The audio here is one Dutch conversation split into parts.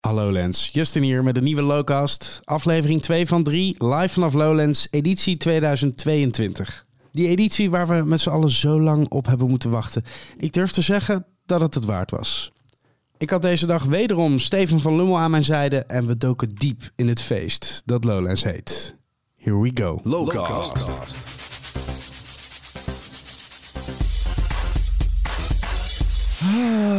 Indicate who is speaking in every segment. Speaker 1: Hallo Lens, Justin hier met de nieuwe Lowcast. Aflevering 2 van 3, live vanaf Lowlands, editie 2022. Die editie waar we met z'n allen zo lang op hebben moeten wachten. Ik durf te zeggen dat het het waard was. Ik had deze dag wederom Steven van Lummel aan mijn zijde en we doken diep in het feest dat Lowlands heet. Here we go.
Speaker 2: Lowcast.
Speaker 1: Oh.
Speaker 3: Eh,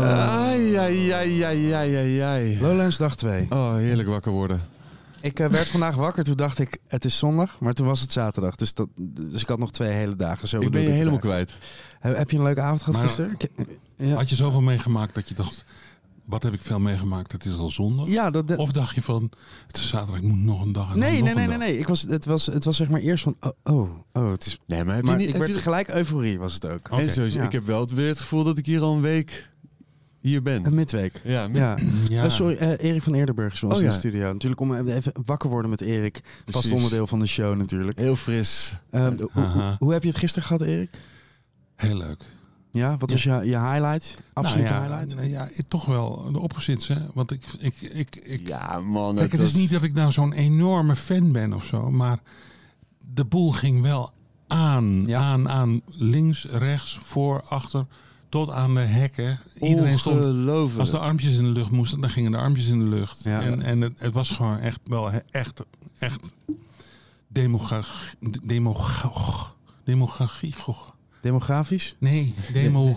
Speaker 2: Oh. Ai, ai, ai, ai, ai, ai, ai.
Speaker 1: Lowlands dag 2.
Speaker 2: Oh, heerlijk wakker worden.
Speaker 1: Ik eh, werd vandaag wakker, toen dacht ik het is zondag, maar toen was het zaterdag. Dus, dat, dus ik had nog twee hele dagen. Zo
Speaker 2: Ik
Speaker 1: bedoel
Speaker 2: ben je
Speaker 1: het
Speaker 2: helemaal
Speaker 1: eigenlijk.
Speaker 2: kwijt.
Speaker 1: Heb, heb je een leuke avond gehad
Speaker 4: Maar-
Speaker 1: gisteren? Ik- Ja.
Speaker 4: Had je zoveel meegemaakt dat je dacht, wat heb ik veel meegemaakt, het is al zondag?
Speaker 1: Ja, dat, dat-
Speaker 4: Of dacht je van, het is zaterdag, ik moet nog een dag en
Speaker 1: nee,
Speaker 4: dan
Speaker 1: nee,
Speaker 4: nog
Speaker 1: nee,
Speaker 4: een
Speaker 1: nee,
Speaker 4: dag.
Speaker 1: nee. Ik was, het, was, het was zeg maar eerst van, oh, oh, oh, het is...
Speaker 2: Nee, maar heb
Speaker 1: Maar
Speaker 2: je niet...
Speaker 1: ik
Speaker 2: heb
Speaker 1: werd
Speaker 2: je-
Speaker 1: gelijk euforie, was het ook.
Speaker 4: Oké.
Speaker 2: En sowieso,
Speaker 1: Ja.
Speaker 2: ik heb wel het, weer het gevoel dat ik hier al een week hier ben.
Speaker 1: Een midweek.
Speaker 2: Ja, met-
Speaker 1: Ja.
Speaker 4: Ja.
Speaker 1: Eh, sorry, eh, Erik van Eerdenburg is bij ons
Speaker 2: Oh,
Speaker 1: in
Speaker 2: ja.
Speaker 1: de studio. Natuurlijk om even wakker worden met Erik. Vast
Speaker 2: Precies.
Speaker 1: onderdeel van de show natuurlijk.
Speaker 2: Heel fris.
Speaker 1: Ehm, hoe, hoe-
Speaker 4: Aha.
Speaker 1: hoe heb je het gisteren gehad, Erik?
Speaker 4: Heel leuk.
Speaker 1: Ja, wat was je, je highlight? Absoluut
Speaker 4: Nou ja,
Speaker 1: highlight?
Speaker 4: nou ja, ik- toch wel de opposites, hè. Want ik, ik, ik, ik
Speaker 2: Ja, man.
Speaker 4: kijk, het is niet dat ik nou zo'n enorme fan ben of zo, maar de boel ging wel aan,
Speaker 1: Ja.
Speaker 4: aan, aan, links, rechts, voor, achter, tot aan de hekken. Iedereen stond
Speaker 2: Ongelooflijk.
Speaker 4: Als de armpjes in de lucht moesten, dan gingen de armpjes in de lucht.
Speaker 1: Ja.
Speaker 4: En, en het, het was gewoon echt wel he- echt, echt demoga, demoga, demagogie. goh.
Speaker 1: Demografisch?
Speaker 4: Nee, demo,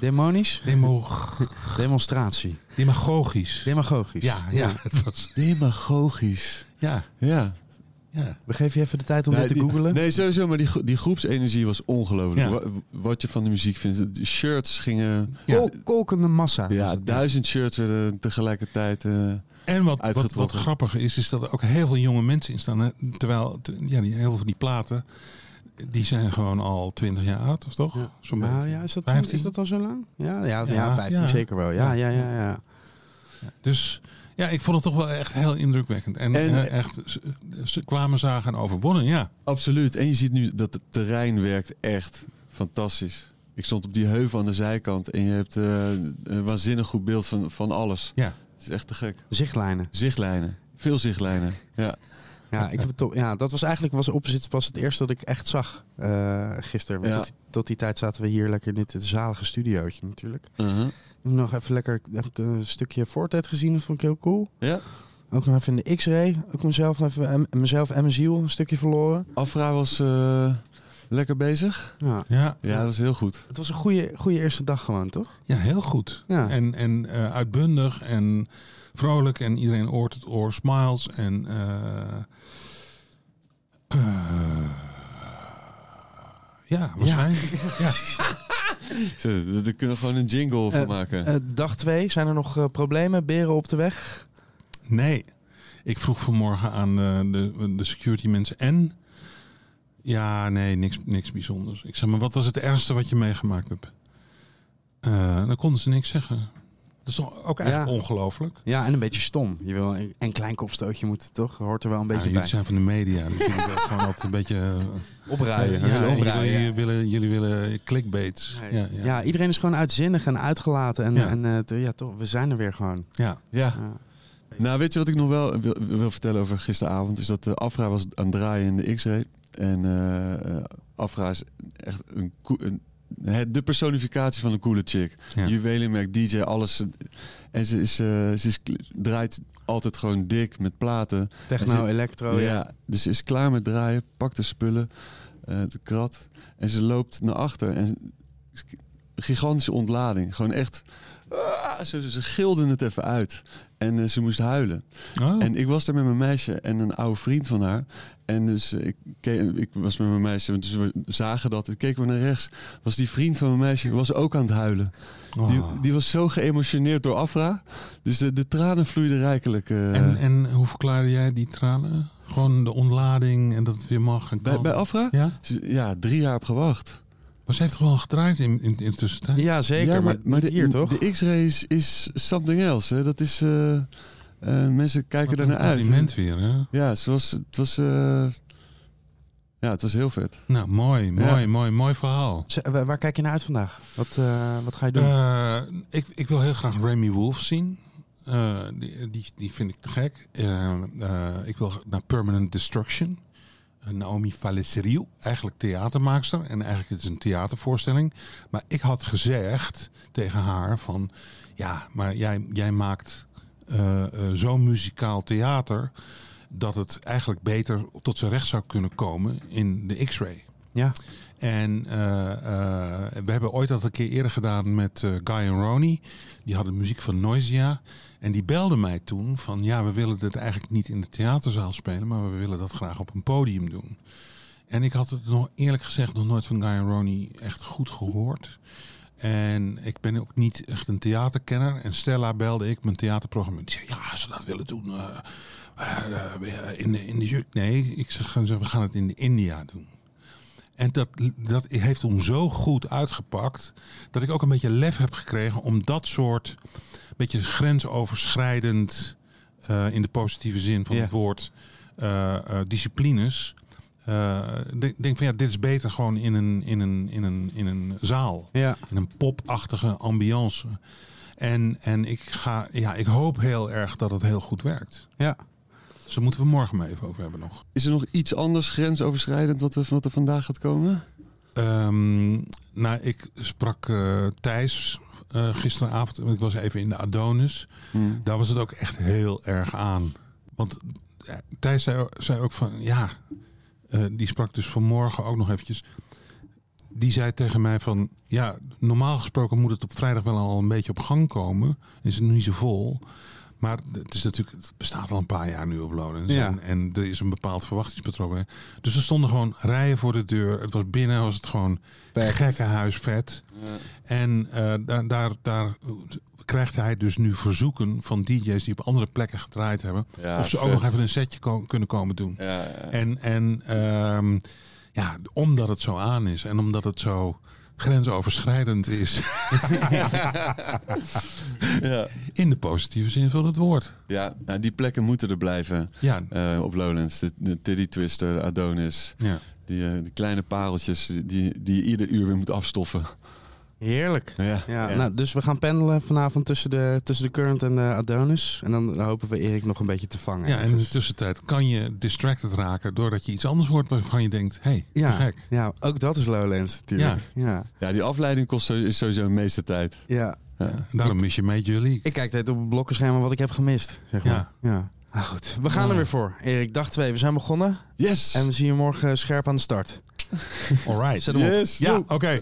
Speaker 1: Demonisch?
Speaker 4: demo,
Speaker 1: Demonstratie?
Speaker 4: demagogisch.
Speaker 1: Demagogisch?
Speaker 4: Ja, ja, het was,
Speaker 2: Demagogisch.
Speaker 4: ja,
Speaker 2: Ja.
Speaker 4: ja.
Speaker 1: We geven je even de tijd om
Speaker 2: Nee,
Speaker 1: dit te
Speaker 2: die-
Speaker 1: googelen.
Speaker 2: Nee, sowieso, maar die, gro- die groepsenergie was ongelooflijk.
Speaker 4: Ja.
Speaker 2: Wa- Wat, je van de muziek vindt. De shirts gingen...
Speaker 4: ja.
Speaker 1: Kol- Kolkende massa. was
Speaker 2: Ja,
Speaker 1: het.
Speaker 2: duizend shirts werden tegelijkertijd... eh,
Speaker 4: En wat, wat, wat
Speaker 2: Uitgetrokken.
Speaker 4: grappig is, is dat er ook heel veel jonge mensen in staan. hè. Terwijl, te- ja, die, heel veel van die platen, die zijn gewoon al 20 jaar oud, of toch?
Speaker 1: Ja.
Speaker 4: Zo'n
Speaker 1: Nou
Speaker 4: beetje.
Speaker 1: ja, is dat,
Speaker 4: 15?
Speaker 1: is dat al zo lang? Ja, ja, ja,
Speaker 4: Ja,
Speaker 1: 15
Speaker 4: ja.
Speaker 1: zeker wel. Ja, ja, ja, ja.
Speaker 4: Dus ja, ik vond het toch wel echt heel indrukwekkend. En,
Speaker 2: En-
Speaker 4: eh, echt, ze, ze kwamen, zagen en overwonnen, ja.
Speaker 2: Absoluut. En je ziet nu dat het terrein werkt echt fantastisch. Ik stond op die heuvel aan de zijkant en je hebt eh, een waanzinnig goed beeld van, van alles.
Speaker 4: Ja.
Speaker 2: Het is echt te gek.
Speaker 1: Zichtlijnen.
Speaker 2: Zichtlijnen. Veel zichtlijnen. Ja.
Speaker 1: Ja, ik heb het toch- ja, dat was eigenlijk was opposite pas het eerste dat ik echt zag eh gisteren. Want
Speaker 2: Ja.
Speaker 1: tot, die, tot die tijd zaten we hier lekker in dit zalige studiootje natuurlijk.
Speaker 2: Uh-huh.
Speaker 1: Ik heb nog even lekker heb ik een stukje voortijd gezien, dat vond ik heel cool.
Speaker 2: ja.
Speaker 1: Ook nog even in de X-ray. Ook mezelf, even, en- mezelf en mijn ziel een stukje verloren.
Speaker 2: Afra was eh, lekker bezig.
Speaker 1: Ja.
Speaker 4: Ja,
Speaker 2: Ja, dat was heel goed.
Speaker 1: Het was een goede, goede Eh, eerste dag gewoon, toch?
Speaker 4: ja heel goed.
Speaker 1: Ja.
Speaker 4: En, en eh, uitbundig en vrolijk en iedereen oort het oor, smiles en... eh, eh, ja, waarschijnlijk. Ja.
Speaker 2: Zo, d- Daar kunnen we gewoon een jingle van
Speaker 1: Eh,
Speaker 2: maken.
Speaker 1: Eh, dag 2, zijn er nog eh, problemen? Beren op de weg?
Speaker 4: Nee, ik vroeg vanmorgen aan eh, de, de security mensen en... Ja, nee, niks, niks bijzonders. Ik zei, maar wat was het ergste wat je meegemaakt hebt? Eh, dan konden ze niks zeggen. Dat is toch ook eigenlijk
Speaker 1: Ja.
Speaker 4: ongelooflijk?
Speaker 1: Ja, en een beetje stom. Je wil een, een klein kopstootje moeten, toch? Hoort er wel een
Speaker 4: Ja,
Speaker 1: beetje
Speaker 4: jullie
Speaker 1: bij.
Speaker 4: zijn van de media, dus jullie willen gewoon altijd een beetje... eh,
Speaker 1: Opruien.
Speaker 4: ja,
Speaker 1: Ja,
Speaker 4: jullie,
Speaker 1: opruien, ja.
Speaker 4: jullie willen, jullie willen clickbaits.
Speaker 1: Nee.
Speaker 4: Ja,
Speaker 1: Ja.
Speaker 4: ja. ja.
Speaker 1: iedereen is gewoon uitzinnig en uitgelaten. En,
Speaker 4: Ja.
Speaker 1: en eh, t- ja, toch, we zijn er weer gewoon.
Speaker 2: ja.
Speaker 1: Ja.
Speaker 2: Nou, weet je wat ik nog wel wil, wil vertellen over gisteravond? Is dat de Afra was aan het draaien in de X-ray. En eh, eh, Afra is echt een, koe- een, het- de personificatie van een coole chick.
Speaker 4: Ja.
Speaker 2: Juwelenmerk, DJ, alles. En ze, is, eh, ze is, draait altijd gewoon dik met platen.
Speaker 1: Techno, electro. Ja.
Speaker 2: Dus ze is klaar met draaien, pakt de spullen, eh, de krat. En ze loopt naar achter. En gigantische ontlading. Gewoon echt... ah, zo, ze- ze gilde het even uit. En eh, ze moest huilen.
Speaker 4: Oh.
Speaker 2: En ik was daar met mijn meisje en een oude vriend van haar. En dus eh, ik, ke- ik was met mijn meisje, dus we zagen dat. En keken we naar rechts. Was die vriend van mijn meisje was ook aan het huilen.
Speaker 4: Oh.
Speaker 2: Die, die was zo geëmotioneerd door Afra. Dus de, de tranen vloeiden rijkelijk. eh,
Speaker 4: en, en hoe verklaarde jij die tranen? Gewoon de ontlading en dat het weer mag en
Speaker 2: bij,
Speaker 4: kan.
Speaker 2: bij Afra?
Speaker 4: Ja?
Speaker 2: Ze- Ja, drie jaar op gewacht.
Speaker 4: Maar ze heeft toch wel gedraaid in, in, in de tussentijd?
Speaker 1: ja, zeker.
Speaker 2: ja,
Speaker 1: maar, niet
Speaker 2: de,
Speaker 1: hier, toch?
Speaker 2: De X-ray is, is something else. Hè? Dat is. eh, eh, mensen kijken
Speaker 4: Wat
Speaker 2: daar
Speaker 4: een
Speaker 2: naar uit.
Speaker 4: compliment weer, hè?
Speaker 2: Ja, ze was, het was. eh, ja, het was heel vet.
Speaker 4: Nou, mooi, mooi,
Speaker 2: Ja.
Speaker 4: mooi, mooi, verhaal.
Speaker 1: Z- wa- waar kijk je naar uit vandaag? Wat, eh, wat ga je doen?
Speaker 4: Eh, ik, ik wil heel graag Remy Wolf zien. Eh, eh, die, die, die vind ik te gek. Eh, eh, ik wil naar Permanent Destruction. Eh, Naomi Valeseriou, eigenlijk theatermaakster. En eigenlijk het is het een theatervoorstelling. Maar ik had gezegd tegen haar van... Ja, maar jij, jij maakt eh, eh, zo'n muzikaal theater... dat het eigenlijk beter tot zijn recht zou kunnen komen in de X-Ray.
Speaker 1: Ja.
Speaker 4: En eh, eh, we hebben ooit dat een keer eerder gedaan met eh, Guy en Ronnie. Die hadden muziek van Noisia. En die belden mij toen van ja, we willen dit eigenlijk niet in de theaterzaal spelen, maar we willen dat graag op een podium doen. En ik had het nog eerlijk gezegd nog nooit van Guy en Ronnie echt goed gehoord. En ik ben ook niet echt een theaterkenner. En Stella belde ik mijn theaterprogramma. Die zei, ja, als ze dat willen doen, eh, eh, eh, in, de- in de... ju- Nee, ik zeg, we gaan het in de India doen. En dat, dat heeft hem zo goed uitgepakt. dat ik ook een beetje lef heb gekregen. om dat soort. beetje grensoverschrijdend. eh, in de positieve zin van
Speaker 1: Ja.
Speaker 4: het woord. eh, eh, disciplines. eh, denk, denk van ja, dit is beter gewoon in een, in een, in een, in een zaal.
Speaker 1: Ja.
Speaker 4: In een popachtige ambiance. En, en ik, ga, ja, ik hoop heel erg dat het heel goed werkt.
Speaker 1: Ja.
Speaker 4: Dus daar moeten we morgen maar even over hebben nog.
Speaker 2: Is er nog iets anders grensoverschrijdend wat, we, wat er vandaag gaat komen?
Speaker 4: Ehm, nou, ik sprak eh, Thijs eh, gisteravond. want Ik was even in de Adonis. Daar was het ook echt heel erg aan. Want eh, Thijs zei, zei ook van... Ja, eh, die sprak dus vanmorgen ook nog eventjes. Die zei tegen mij van... Ja, normaal gesproken moet het op vrijdag wel al een beetje op gang komen. Is het nu niet zo vol. Maar het, is natuurlijk, het bestaat al een paar jaar nu op Lowlands.
Speaker 1: Ja.
Speaker 4: En, en er is een bepaald verwachtingspatroon. bij. Dus er stonden gewoon rijen voor de deur. Het was binnen, was het gewoon
Speaker 1: Packed.
Speaker 4: gekkenhuisvet. En eh, daar, daar, daar krijgt hij dus nu verzoeken van DJ's die op andere plekken gedraaid hebben.
Speaker 2: Ja,
Speaker 4: of ze ook
Speaker 2: vet.
Speaker 4: nog even een setje ko- kunnen komen doen.
Speaker 2: Ja,
Speaker 4: En, en ehm, ja, omdat het zo aan is en omdat het zo grensoverschrijdend is.
Speaker 2: ja.
Speaker 4: In de positieve zin van het woord.
Speaker 2: ja nou, die plekken moeten er blijven
Speaker 4: Ja,
Speaker 2: eh, op Lowlands. De, de Teddy Twister, de Adonis.
Speaker 4: ja.
Speaker 2: Die, eh, die kleine pareltjes die, die je ieder uur weer moet afstoffen.
Speaker 1: Heerlijk.
Speaker 2: Ja,
Speaker 1: Ja, Nou, dus we gaan pendelen vanavond tussen de, tussen de Current en de Adonis. En dan hopen we Erik nog een beetje te vangen.
Speaker 4: ja en in de tussentijd kan je distracted raken doordat je iets anders hoort waarvan je denkt, hé, hey, te
Speaker 1: ja,
Speaker 4: gek.
Speaker 1: ja, ook dat is Lowlands natuurlijk. Ja. Ja.
Speaker 2: ja, die afleiding kost zo- is sowieso de meeste tijd. Ja.
Speaker 4: Daarom mis je Major League.
Speaker 1: Ik kijk net op het blokkenscherm wat ik heb gemist. Zeg maar.
Speaker 4: Ja.
Speaker 1: ja. Nou goed, we gaan er weer voor. Erik, dag 2, we zijn begonnen.
Speaker 2: Yes!
Speaker 1: En we zien je morgen scherp aan de start.
Speaker 4: All right.
Speaker 1: Zet hem op.
Speaker 2: Yes!
Speaker 4: Ja, oké.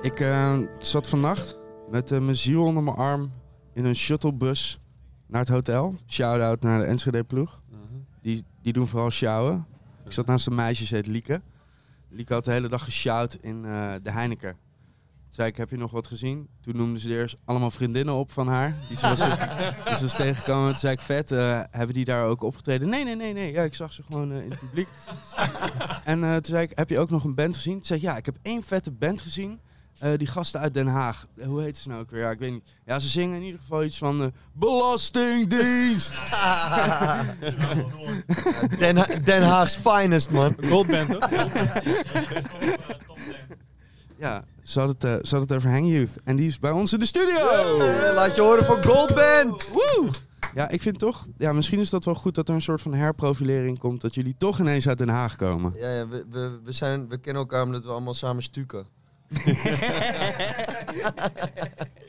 Speaker 1: Ik eh, zat vannacht met eh, mijn ziel onder mijn arm in een shuttlebus naar het hotel. Shout-out naar de Enschede-ploeg. Die, die doen vooral sjouwen. Ik zat naast een meisje, ze heet Lieke. Lieke had de hele dag gesjouwd in eh, de Heineken. Zei ik, heb je nog wat gezien? Toen noemden ze eerst allemaal vriendinnen op van haar. Die ze was, dus- die ze was tegengekomen. Toen zei ik, vet, eh, hebben die daar ook opgetreden? Nee, nee, nee, nee. Ja, ik zag ze gewoon eh, in het publiek. en eh, toen zei ik, heb je ook nog een band gezien? Toen zei ik, ja, ik heb één vette band gezien. Eh, die gasten uit Den Haag. Eh, Hoe heet ze nou ook weer? Ja, ik weet niet. Ja, ze zingen in ieder geval iets van eh, Belastingdienst.
Speaker 5: Den, Ha- Den Haag's finest, man.
Speaker 6: Goldband, hoor.
Speaker 1: Ja, ze had, het, eh, ze had het over Hang Youth. En die is bij ons in de studio.
Speaker 5: Eh, Laat je horen voor Goldband.
Speaker 1: Ja, ik vind toch... Ja, misschien is dat wel goed dat er een soort van herprofilering komt. Dat jullie toch ineens uit Den Haag komen.
Speaker 5: Ja, ja we, we, we, zijn, we kennen elkaar omdat we allemaal samen stukken.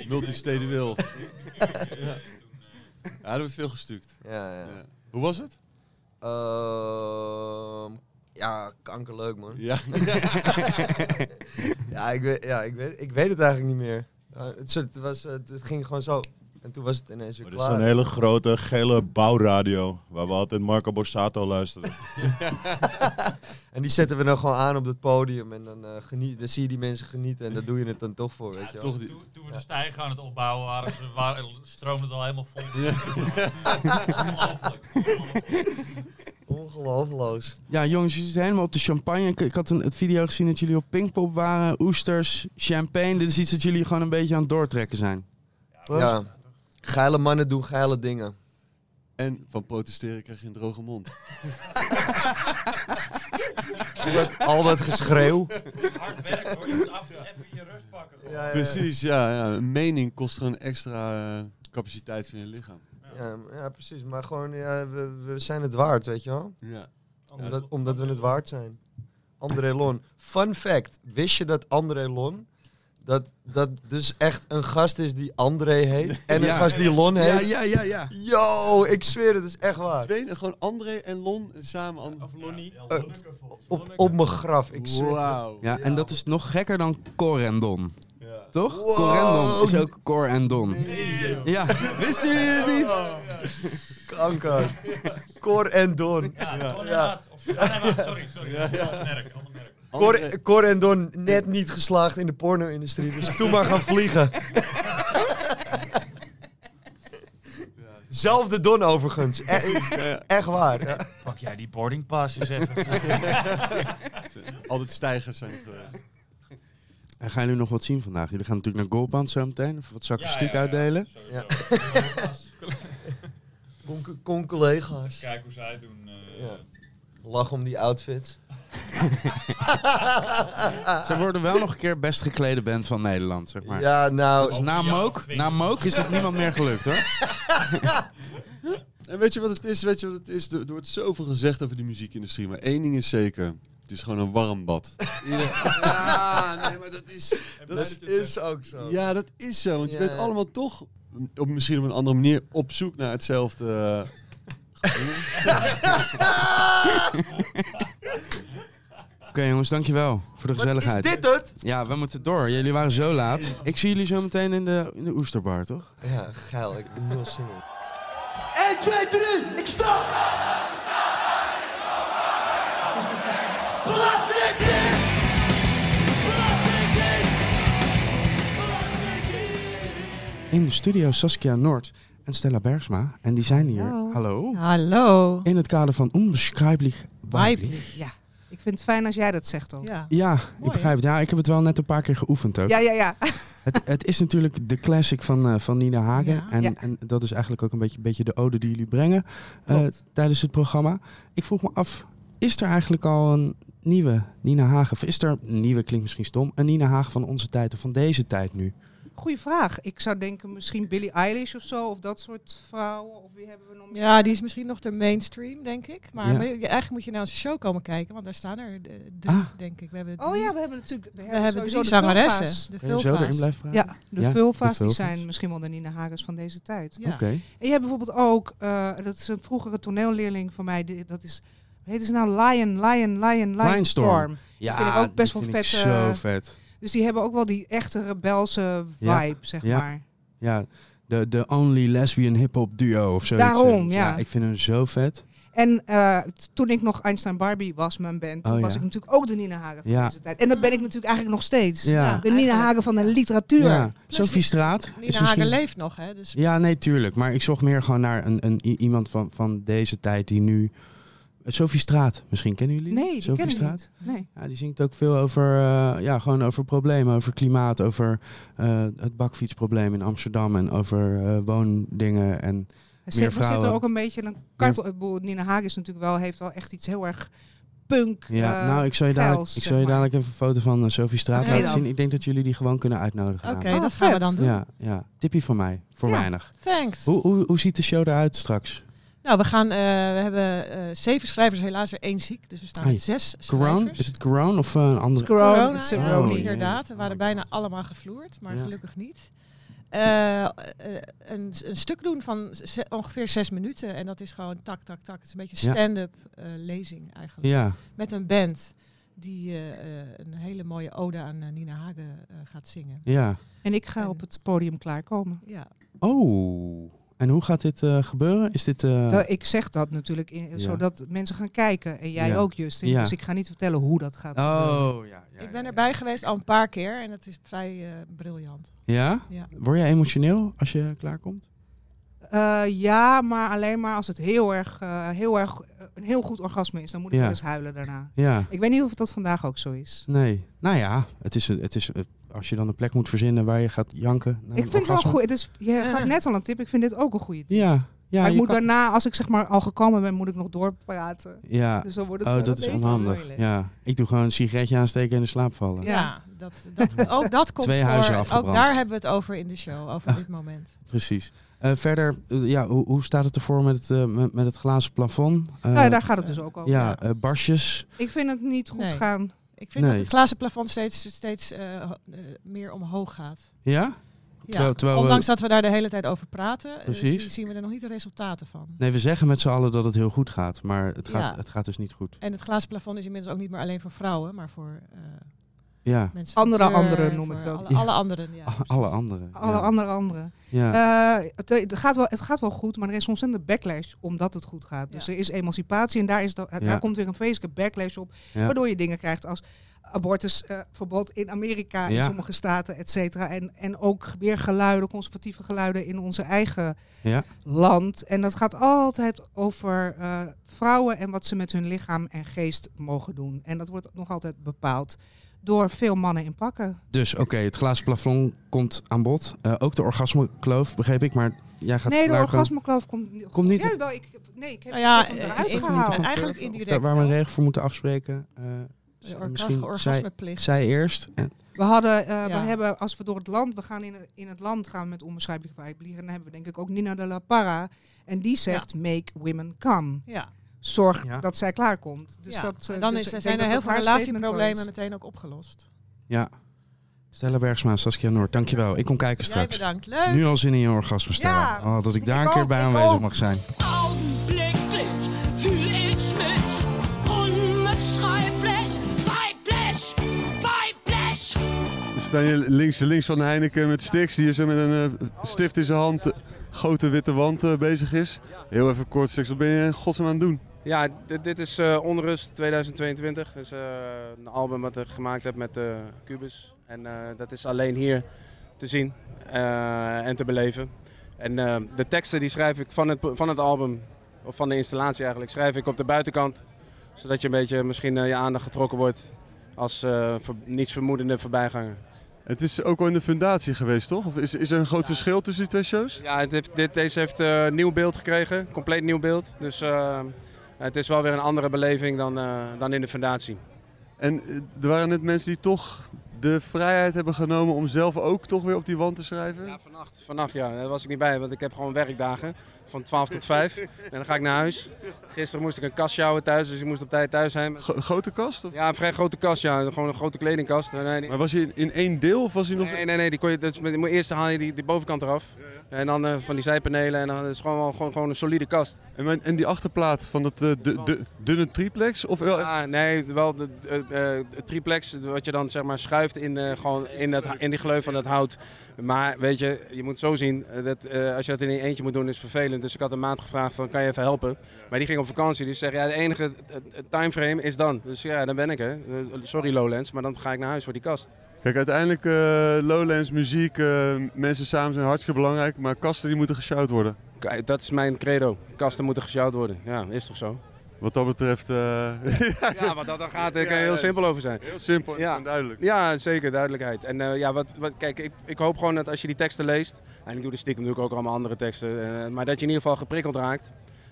Speaker 2: Multistedueel. ja. ja, er wordt veel gestuukt.
Speaker 5: Ja, ja.
Speaker 2: Ja. Hoe was het?
Speaker 5: Ehm, ja, kankerleuk, man.
Speaker 2: Ja.
Speaker 5: Ja, ik weet, ja, ik weet, ik weet het eigenlijk niet meer. Ja, het, soort- het was, eh, het, het ging gewoon zo. En toen was het ineens weer
Speaker 2: Oh,
Speaker 7: Maar dit is
Speaker 5: klaar.
Speaker 7: zo'n hele grote gele bouwradio waar we altijd Marco Borsato luisteren.
Speaker 5: En die zetten we dan gewoon aan op het podium. En dan, eh, geniet, dan zie je die mensen genieten. En daar doe je het dan toch voor, weet je wel.
Speaker 2: Toch die...
Speaker 6: Toen, toen we de stijger aan het opbouwen waren, ze waren, stroomde het al helemaal vol. Ongelooflijk.
Speaker 5: Ongeloofloos.
Speaker 1: Ja, jongens, jullie zitten helemaal op de champagne. Ik, ik had een het video gezien dat jullie op Pinkpop waren. Oesters, champagne. Dit is iets dat jullie gewoon een beetje aan het doortrekken zijn.
Speaker 5: Ja. Geile mannen doen geile dingen.
Speaker 2: En van protesteren krijg je een droge mond.
Speaker 5: Al dat, al dat geschreeuw.
Speaker 6: Hard werk hoor. Je moet af en toe even je rust pakken. gewoon.
Speaker 5: Ja, ja,
Speaker 2: Precies, ja, ja. Een mening kost gewoon extra eh, capaciteit van je lichaam.
Speaker 5: Ja, ja, precies. Maar gewoon, ja, we, we zijn het waard, weet je wel?
Speaker 2: Ja.
Speaker 6: Anders-
Speaker 5: Omdat, omdat we het waard zijn. André Lon. Fun fact. Wist je dat André Lon... Dat, dat dus echt een gast is die André heet. En een
Speaker 1: Ja.
Speaker 5: gast die Lon
Speaker 1: Ja,
Speaker 5: heet.
Speaker 1: ja, ja, ja.
Speaker 5: Yo, ik zweer het, het is echt waar.
Speaker 2: Twee, gewoon André en Lon samen. An-
Speaker 6: Of Lonnie.
Speaker 5: Eh, Op, op mijn graf, ik zweer het.
Speaker 2: Wauw.
Speaker 1: Ja, en dat is nog gekker dan Corendon. Toch?
Speaker 5: Wow.
Speaker 1: Corendon is ook Cor en Don. Ja, wisten jullie het niet?
Speaker 5: Kanker. Cor en Don.
Speaker 6: Ja, Don en Maat. Of- oh, nee, wacht, Sorry, sorry. Ander merk, ander merk.
Speaker 5: Cor, Cor en Don net niet geslaagd in de porno-industrie, dus toen maar gaan vliegen. Zelfde Don overigens. E- echt waar. Ja.
Speaker 6: Pak jij die boarding passes even.
Speaker 2: Altijd stijgers zijn het geweest.
Speaker 1: En gaan jullie nog wat zien vandaag? Jullie gaan natuurlijk naar Goalband zo meteen. Of wat zakken
Speaker 6: Ja,
Speaker 1: stuk
Speaker 6: ja, ja,
Speaker 1: uitdelen.
Speaker 6: sowieso.
Speaker 5: Ja.
Speaker 6: Collega's.
Speaker 5: Kon, kon collega's.
Speaker 6: Kijk hoe zij het doen. eh.
Speaker 5: Ja. Lach om die outfits.
Speaker 6: eh,
Speaker 1: Ze worden wel nog een keer best geklede band van Nederland, zeg maar.
Speaker 5: Ja,
Speaker 1: Dus
Speaker 5: nou,
Speaker 1: na Mook, na Mook is het niemand meer gelukt, hoor.
Speaker 2: En weet je wat het is? Weet je wat het is? Er, er wordt zoveel gezegd over de muziekindustrie, maar één ding is zeker. Het is gewoon een warm bad. ja, nee, maar dat is...
Speaker 5: dat is ook zo.
Speaker 2: Ja, dat is zo. Want je
Speaker 5: Ja.
Speaker 2: bent allemaal toch, op, misschien op een andere manier, op zoek naar hetzelfde... eh,
Speaker 1: Oké, jongens, dankjewel voor de
Speaker 5: Is
Speaker 1: gezelligheid.
Speaker 5: dit het?
Speaker 1: Ja, we moeten door. Jullie waren zo laat. Ik zie jullie zo meteen in de, in de Oesterbar, toch?
Speaker 5: Ja, geil. Ik ben heel single.
Speaker 8: 1, 2, 3, ik sta! Belastingdienst!
Speaker 1: In de studio Saskia Noord en Stella Bergsma. En die zijn hier.
Speaker 3: Hallo.
Speaker 1: Hallo.
Speaker 3: Hallo.
Speaker 1: In het kader van onbeschrijfelijk weiblich.
Speaker 9: Ja, ik vind het fijn als jij dat zegt al.
Speaker 3: Ja.
Speaker 1: Ja, ik begrijp het. Ja, ik heb het wel net een paar keer geoefend ook.
Speaker 9: ja, ja. ja.
Speaker 1: Het, het is natuurlijk de classic van, eh, van Nina Hagen.
Speaker 3: Ja.
Speaker 1: En,
Speaker 9: Ja.
Speaker 1: en dat is eigenlijk ook een beetje, beetje de ode die jullie brengen eh, tijdens het programma. Ik vroeg me af, is er eigenlijk al een nieuwe Nina Hagen? Of is er, nieuwe klinkt misschien stom, een Nina Hagen van onze tijd of van deze tijd nu?
Speaker 9: Goeie vraag. Ik zou denken misschien Billie Eilish of zo, of dat soort vrouwen. Of wie hebben we nog meer?
Speaker 3: Ja, die is misschien nog de mainstream, denk ik. Maar
Speaker 1: Ja.
Speaker 3: we- je- eigenlijk moet je naar onze show komen kijken, want daar staan er eh, drie,
Speaker 1: Ah.
Speaker 3: denk ik. We hebben
Speaker 9: Oh
Speaker 3: drie-
Speaker 9: ja, we hebben natuurlijk
Speaker 3: we
Speaker 9: we hebben
Speaker 3: hebben
Speaker 9: sowieso
Speaker 3: drie
Speaker 9: de
Speaker 3: zangeressen.
Speaker 9: vulva's.
Speaker 3: De
Speaker 1: Kun je zo
Speaker 3: vulva's.
Speaker 1: erin blijven praten?
Speaker 9: Ja, de
Speaker 1: Ja, de
Speaker 9: vulva's die
Speaker 1: vulva's.
Speaker 9: zijn misschien wel de Nina Hagens van deze tijd.
Speaker 3: Ja.
Speaker 1: Oké.
Speaker 9: En je hebt bijvoorbeeld ook, eh, dat is een vroegere toneelleerling van mij, die- dat is, hoe heet ze nou? Lion, Lion, Lion, Lion
Speaker 1: Lionstorm.
Speaker 9: Storm.
Speaker 1: Ja,
Speaker 9: vind ik ook best
Speaker 1: die
Speaker 9: wel
Speaker 1: vind ik
Speaker 9: vet,
Speaker 1: zo
Speaker 9: eh,
Speaker 1: vet.
Speaker 9: Dus die hebben ook wel die echte rebelse vibe,
Speaker 1: Ja,
Speaker 9: zeg
Speaker 1: ja.
Speaker 9: maar.
Speaker 1: Ja, de, de only lesbian hip-hop duo of zoiets.
Speaker 9: Daarom,
Speaker 1: Eh,
Speaker 9: ja.
Speaker 1: Ik vind hem zo vet.
Speaker 9: En eh, t- toen ik nog Einstein Barbie was, mijn band, toen
Speaker 1: Oh,
Speaker 9: was
Speaker 1: ja.
Speaker 9: ik natuurlijk ook de Nina Hagen van
Speaker 1: Ja.
Speaker 9: deze tijd. En dat ben ik natuurlijk eigenlijk nog steeds.
Speaker 1: Ja.
Speaker 3: Ja.
Speaker 9: De Nina Hagen van de literatuur.
Speaker 1: Ja,
Speaker 3: Plus
Speaker 1: Sophie
Speaker 3: die-
Speaker 1: Straat. is
Speaker 3: Nina
Speaker 1: misschien-
Speaker 3: Hagen leeft nog, hè? Dus
Speaker 1: Ja, nee, tuurlijk. Maar ik zocht meer gewoon naar een, een, i- iemand van, van deze tijd die nu... Sophie Straat, misschien kennen jullie?
Speaker 9: Nee, die
Speaker 1: Sophie
Speaker 9: ken ik
Speaker 1: Straat?
Speaker 9: niet. Nee.
Speaker 1: Ja, die zingt ook veel over, eh, ja, gewoon over problemen, over klimaat, over eh, het bakfietsprobleem in Amsterdam en over eh, woondingen. En
Speaker 9: Er zit, er zit
Speaker 1: vrouwen.
Speaker 9: er ook een beetje een kartel. ik bedoel, Nina Hagen is natuurlijk wel, heeft wel echt iets heel erg punk.
Speaker 1: ja,
Speaker 9: eh,
Speaker 1: nou, ik zal je dadelijk,
Speaker 9: geils,
Speaker 1: ik
Speaker 9: zeg
Speaker 1: zal je
Speaker 9: maar.
Speaker 1: dadelijk even een foto van eh, Sophie Straat
Speaker 3: Oké
Speaker 1: laten
Speaker 9: dan.
Speaker 1: zien. Ik denk dat jullie die gewoon kunnen uitnodigen.
Speaker 3: oké,
Speaker 1: namelijk. Oh,
Speaker 9: Ah,
Speaker 3: dat gaan we
Speaker 9: vet.
Speaker 3: dan doen.
Speaker 1: Ja, ja, tippie van mij, voor
Speaker 9: Ja.
Speaker 1: weinig.
Speaker 3: Thanks.
Speaker 1: Hoe, hoe, hoe ziet de show eruit straks?
Speaker 3: Nou, we, gaan, eh, we hebben eh, zeven schrijvers, helaas er één ziek. Dus we staan
Speaker 1: Ai.
Speaker 3: met zes
Speaker 1: Ah, Corona?
Speaker 3: schrijvers.
Speaker 1: Is het Corona of eh, een andere?
Speaker 9: Corona,
Speaker 3: corona,
Speaker 9: it's a
Speaker 3: corona,
Speaker 1: corona.
Speaker 3: inderdaad. We
Speaker 1: Oh
Speaker 3: waren
Speaker 1: my
Speaker 3: bijna
Speaker 1: God.
Speaker 3: allemaal gevloerd, maar
Speaker 1: Ja.
Speaker 3: gelukkig niet. Eh, eh, een, een stuk doen van ze- ongeveer zes minuten. En dat is gewoon tak, tak, tak. Het is een beetje
Speaker 1: Ja.
Speaker 3: een stand-up eh, lezing eigenlijk.
Speaker 1: Ja.
Speaker 3: Met een band die eh, eh, een hele mooie ode aan eh, Nina Hagen eh, gaat zingen.
Speaker 1: Ja.
Speaker 9: En ik ga op het podium klaarkomen.
Speaker 3: Ja.
Speaker 1: Oh. En hoe gaat dit eh, gebeuren? Is dit... eh,
Speaker 9: Dat- ik zeg dat natuurlijk, in,
Speaker 1: Ja.
Speaker 9: zodat mensen gaan kijken. En jij
Speaker 1: Ja.
Speaker 9: ook, Justin.
Speaker 1: Ja.
Speaker 9: Dus ik ga niet vertellen hoe dat gaat. gebeuren.
Speaker 1: Oh, ja. ja
Speaker 3: Ik ben
Speaker 1: ja,
Speaker 3: erbij geweest al een paar keer en het is vrij eh, briljant.
Speaker 1: Ja?
Speaker 3: Ja.
Speaker 1: Word jij emotioneel als je klaarkomt?
Speaker 9: Eh, ja, maar alleen maar als het heel erg, eh, heel erg eh, een heel goed orgasme is. Dan moet ik
Speaker 1: Ja.
Speaker 9: wel eens huilen daarna.
Speaker 1: Ja.
Speaker 9: Ik weet niet of dat vandaag ook zo is.
Speaker 1: Nee. Nou ja, het is, het is, eh, als je dan een plek moet verzinnen waar je gaat janken. naar
Speaker 9: ik
Speaker 1: een
Speaker 9: vind het wel
Speaker 1: orgasme. Eh.
Speaker 9: goed. Het is, je gaf net al een tip. Ik vind dit ook een goede tip.
Speaker 1: Ja. Ja,
Speaker 9: maar ik
Speaker 1: je
Speaker 9: moet
Speaker 1: kan-
Speaker 9: daarna, als ik zeg maar al gekomen ben, moet ik nog doorpraten.
Speaker 1: Ja.
Speaker 9: Dus dan wordt het
Speaker 1: Oh,
Speaker 9: wel
Speaker 1: dat
Speaker 9: een
Speaker 1: is
Speaker 9: beetje
Speaker 1: onhandig.
Speaker 3: moeilijk.
Speaker 1: Ja. Ik doe gewoon een sigaretje aansteken en in slaap vallen.
Speaker 9: Ja.
Speaker 3: Ja, dat, dat, ook dat komt
Speaker 1: Twee
Speaker 3: voor.
Speaker 1: huizen
Speaker 3: Ook
Speaker 1: afgebrand.
Speaker 3: daar hebben we het over in de show, over dit moment.
Speaker 1: Precies. Eh, verder, eh, ja, hoe, hoe staat het ervoor met het, eh, met, met het glazen plafond? Eh,
Speaker 9: Nou, ja, daar gaat het dus ook over.
Speaker 1: ja, eh, barstjes.
Speaker 9: Ik vind het niet goed
Speaker 3: Nee.
Speaker 9: gaan.
Speaker 3: Ik vind
Speaker 1: Nee.
Speaker 3: dat het glazen plafond steeds, steeds eh, ho- eh, meer omhoog gaat.
Speaker 1: Ja?
Speaker 3: Ja,
Speaker 1: Terwijl- terwijl we-
Speaker 3: Ondanks dat we daar de hele tijd over praten, eh,
Speaker 1: Precies.
Speaker 3: zien- zien we er nog niet de resultaten van.
Speaker 1: Nee, we zeggen met z'n allen dat het heel goed gaat, maar het gaat,
Speaker 3: Ja.
Speaker 1: het gaat dus niet goed.
Speaker 3: En het glazen plafond is inmiddels ook niet meer alleen voor vrouwen, maar voor eh,
Speaker 1: Ja,
Speaker 3: mensen. van
Speaker 9: Andere
Speaker 3: kleur,
Speaker 9: anderen noem
Speaker 3: voor
Speaker 9: ik dat.
Speaker 3: Alle,
Speaker 1: Ja.
Speaker 3: alle anderen, ja. precies.
Speaker 1: alle anderen.
Speaker 9: Alle
Speaker 1: ja.
Speaker 9: andere anderen.
Speaker 1: Ja.
Speaker 9: Eh, het, het gaat wel, het gaat wel goed, maar er is ontzettend backlash omdat het goed gaat. Dus
Speaker 3: Ja.
Speaker 9: er is emancipatie en daar, is dat,
Speaker 1: Ja.
Speaker 9: daar komt weer een vreselijke backlash op.
Speaker 1: Ja.
Speaker 9: Waardoor je dingen krijgt als abortusverbod in Amerika, in
Speaker 1: Ja.
Speaker 9: sommige staten, et cetera. En, en ook weer geluiden, conservatieve geluiden in onze eigen
Speaker 1: Ja.
Speaker 9: land. En dat gaat altijd over eh, vrouwen en wat ze met hun lichaam en geest mogen doen. En dat wordt nog altijd bepaald door veel mannen in pakken.
Speaker 1: Dus oké, het glazen plafond komt aan bod. Eh, ook de orgasmekloof, begreep ik, maar jij gaat
Speaker 9: nee, de
Speaker 1: klaarkomen.
Speaker 9: orgasmekloof komt niet.
Speaker 1: Komt niet-
Speaker 9: Ja, wel, ik, heb- nee, ik heb
Speaker 3: Nou ja,
Speaker 9: ik heb
Speaker 3: eh,
Speaker 9: hem eruit
Speaker 3: in-
Speaker 9: gehaald.
Speaker 3: eigenlijk indirect.
Speaker 1: Daar waar we een
Speaker 3: wel.
Speaker 1: regel voor moeten afspreken. eh,
Speaker 3: De
Speaker 1: z-
Speaker 3: orga-
Speaker 1: misschien zij,
Speaker 3: orgasmeplicht.
Speaker 1: zij eerst. En,
Speaker 9: We hadden, eh,
Speaker 3: Ja.
Speaker 9: we hebben, als we door het land, we gaan in, in het land gaan met onbeschrijfelijk vliegen. Dan hebben we denk ik ook Nina de la Parra. En die zegt, make women come.
Speaker 3: Ja,
Speaker 9: Zorg
Speaker 1: Ja.
Speaker 9: dat zij klaarkomt. Dus
Speaker 3: ja.
Speaker 9: dat, eh,
Speaker 3: dan
Speaker 9: dus
Speaker 3: is,
Speaker 9: ik denk
Speaker 3: zijn
Speaker 9: dat
Speaker 3: er heel
Speaker 9: dat
Speaker 3: veel
Speaker 9: haar statement wel
Speaker 3: relatieproblemen
Speaker 9: is.
Speaker 3: meteen ook opgelost.
Speaker 1: ja. Stella Bergsma, Saskia Noord, dankjewel. Ik kom kijken
Speaker 3: Jij
Speaker 1: straks.
Speaker 3: bedankt, leuk.
Speaker 1: Nu al zin in je orgasme stellen.
Speaker 9: Ja,
Speaker 1: oh, dat ik daar
Speaker 9: ik
Speaker 1: een keer
Speaker 9: ook,
Speaker 1: bij
Speaker 9: ik
Speaker 1: aanwezig
Speaker 9: ook.
Speaker 1: mag zijn.
Speaker 10: Augenblicklich fühl ich mich unbeschreiblich weiblich, weiblich.
Speaker 2: We staan hier links, links van Heineken met Stix, die hier zo met een eh, stift in zijn hand, eh, grote witte wand eh, bezig is. Heel even kort, Stix, wat ben je in godsnaam aan het doen?
Speaker 11: Ja, dit, dit is eh, Onrust 2022. Dat is eh, een album wat ik gemaakt heb met eh Cubus. En eh, dat is alleen hier te zien eh, en te beleven. En eh, de teksten die schrijf ik van het, van het album, of van de installatie eigenlijk, schrijf ik op de buitenkant. Zodat je een beetje misschien eh, je aandacht getrokken wordt als eh ver, niets vermoedende voorbijganger.
Speaker 2: Het is ook al in de fundatie geweest, toch? Of is, is er een groot verschil tussen die twee shows?
Speaker 11: Ja, het heeft, dit, deze heeft eh, nieuw beeld gekregen, compleet nieuw beeld. Dus eh, het is wel weer een andere beleving dan, eh, dan in de fundatie.
Speaker 2: En eh, er waren net mensen die toch de vrijheid hebben genomen om zelf ook toch weer op die wand te schrijven.
Speaker 11: Ja, vannacht. Vannacht, ja. Daar was ik niet bij, want ik heb gewoon werkdagen. Van 12 tot 5. En dan ga ik naar huis. Gisteren moest ik een kast sjouwen thuis, dus ik moest op tijd thuis zijn.
Speaker 2: Gro- grote kast? Of?
Speaker 11: Ja, een vrij grote kast, ja. Gewoon een grote kledingkast. Nee, die-
Speaker 2: Maar was hij in, in één deel of was hij nog...
Speaker 11: nee, nee. nee, die kon je, dat is- die moet- eerst haal je die, die bovenkant eraf. En dan eh, van die zijpanelen. En dan is het gewoon, wel- gewoon, gewoon een solide kast.
Speaker 2: En, mijn- en die achterplaat van dat eh, du- du- dunne triplex? Of wel-
Speaker 11: Ja, nee, wel de, eh, eh, het triplex, wat je dan zeg maar schuift in, eh, gewoon in, dat, in die gleuf van dat hout. Maar weet je, je moet zo zien, eh, dat, eh, als je dat in je eentje moet doen is vervelend. Dus ik had een maand gevraagd van, kan je even helpen? Maar die ging op vakantie, dus zeg, ja, de enige eh, eh, timeframe is dan. Dus ja, dan ben ik er. Eh, Sorry Lowlands, maar dan ga ik naar huis voor die kast.
Speaker 2: Kijk, uiteindelijk eh Lowlands, muziek, eh, mensen samen zijn hartstikke belangrijk, maar kasten die moeten geshout worden.
Speaker 11: Kijk, dat is mijn credo. Kasten moeten gesjouwd worden. Ja, is toch zo?
Speaker 2: Wat dat betreft, eh,
Speaker 11: Ja, dus- want dat, daar gaat het
Speaker 2: Ja,
Speaker 11: heel
Speaker 2: ja.
Speaker 11: simpel over zijn.
Speaker 2: heel simpel en
Speaker 11: Ja.
Speaker 2: gewoon duidelijk.
Speaker 11: Ja, zeker, duidelijkheid. En eh, ja, wat, wat, kijk, ik, ik hoop gewoon dat als je die teksten leest, en ik doe de stiekem natuurlijk ook allemaal andere teksten, eh, maar dat je in ieder geval geprikkeld raakt.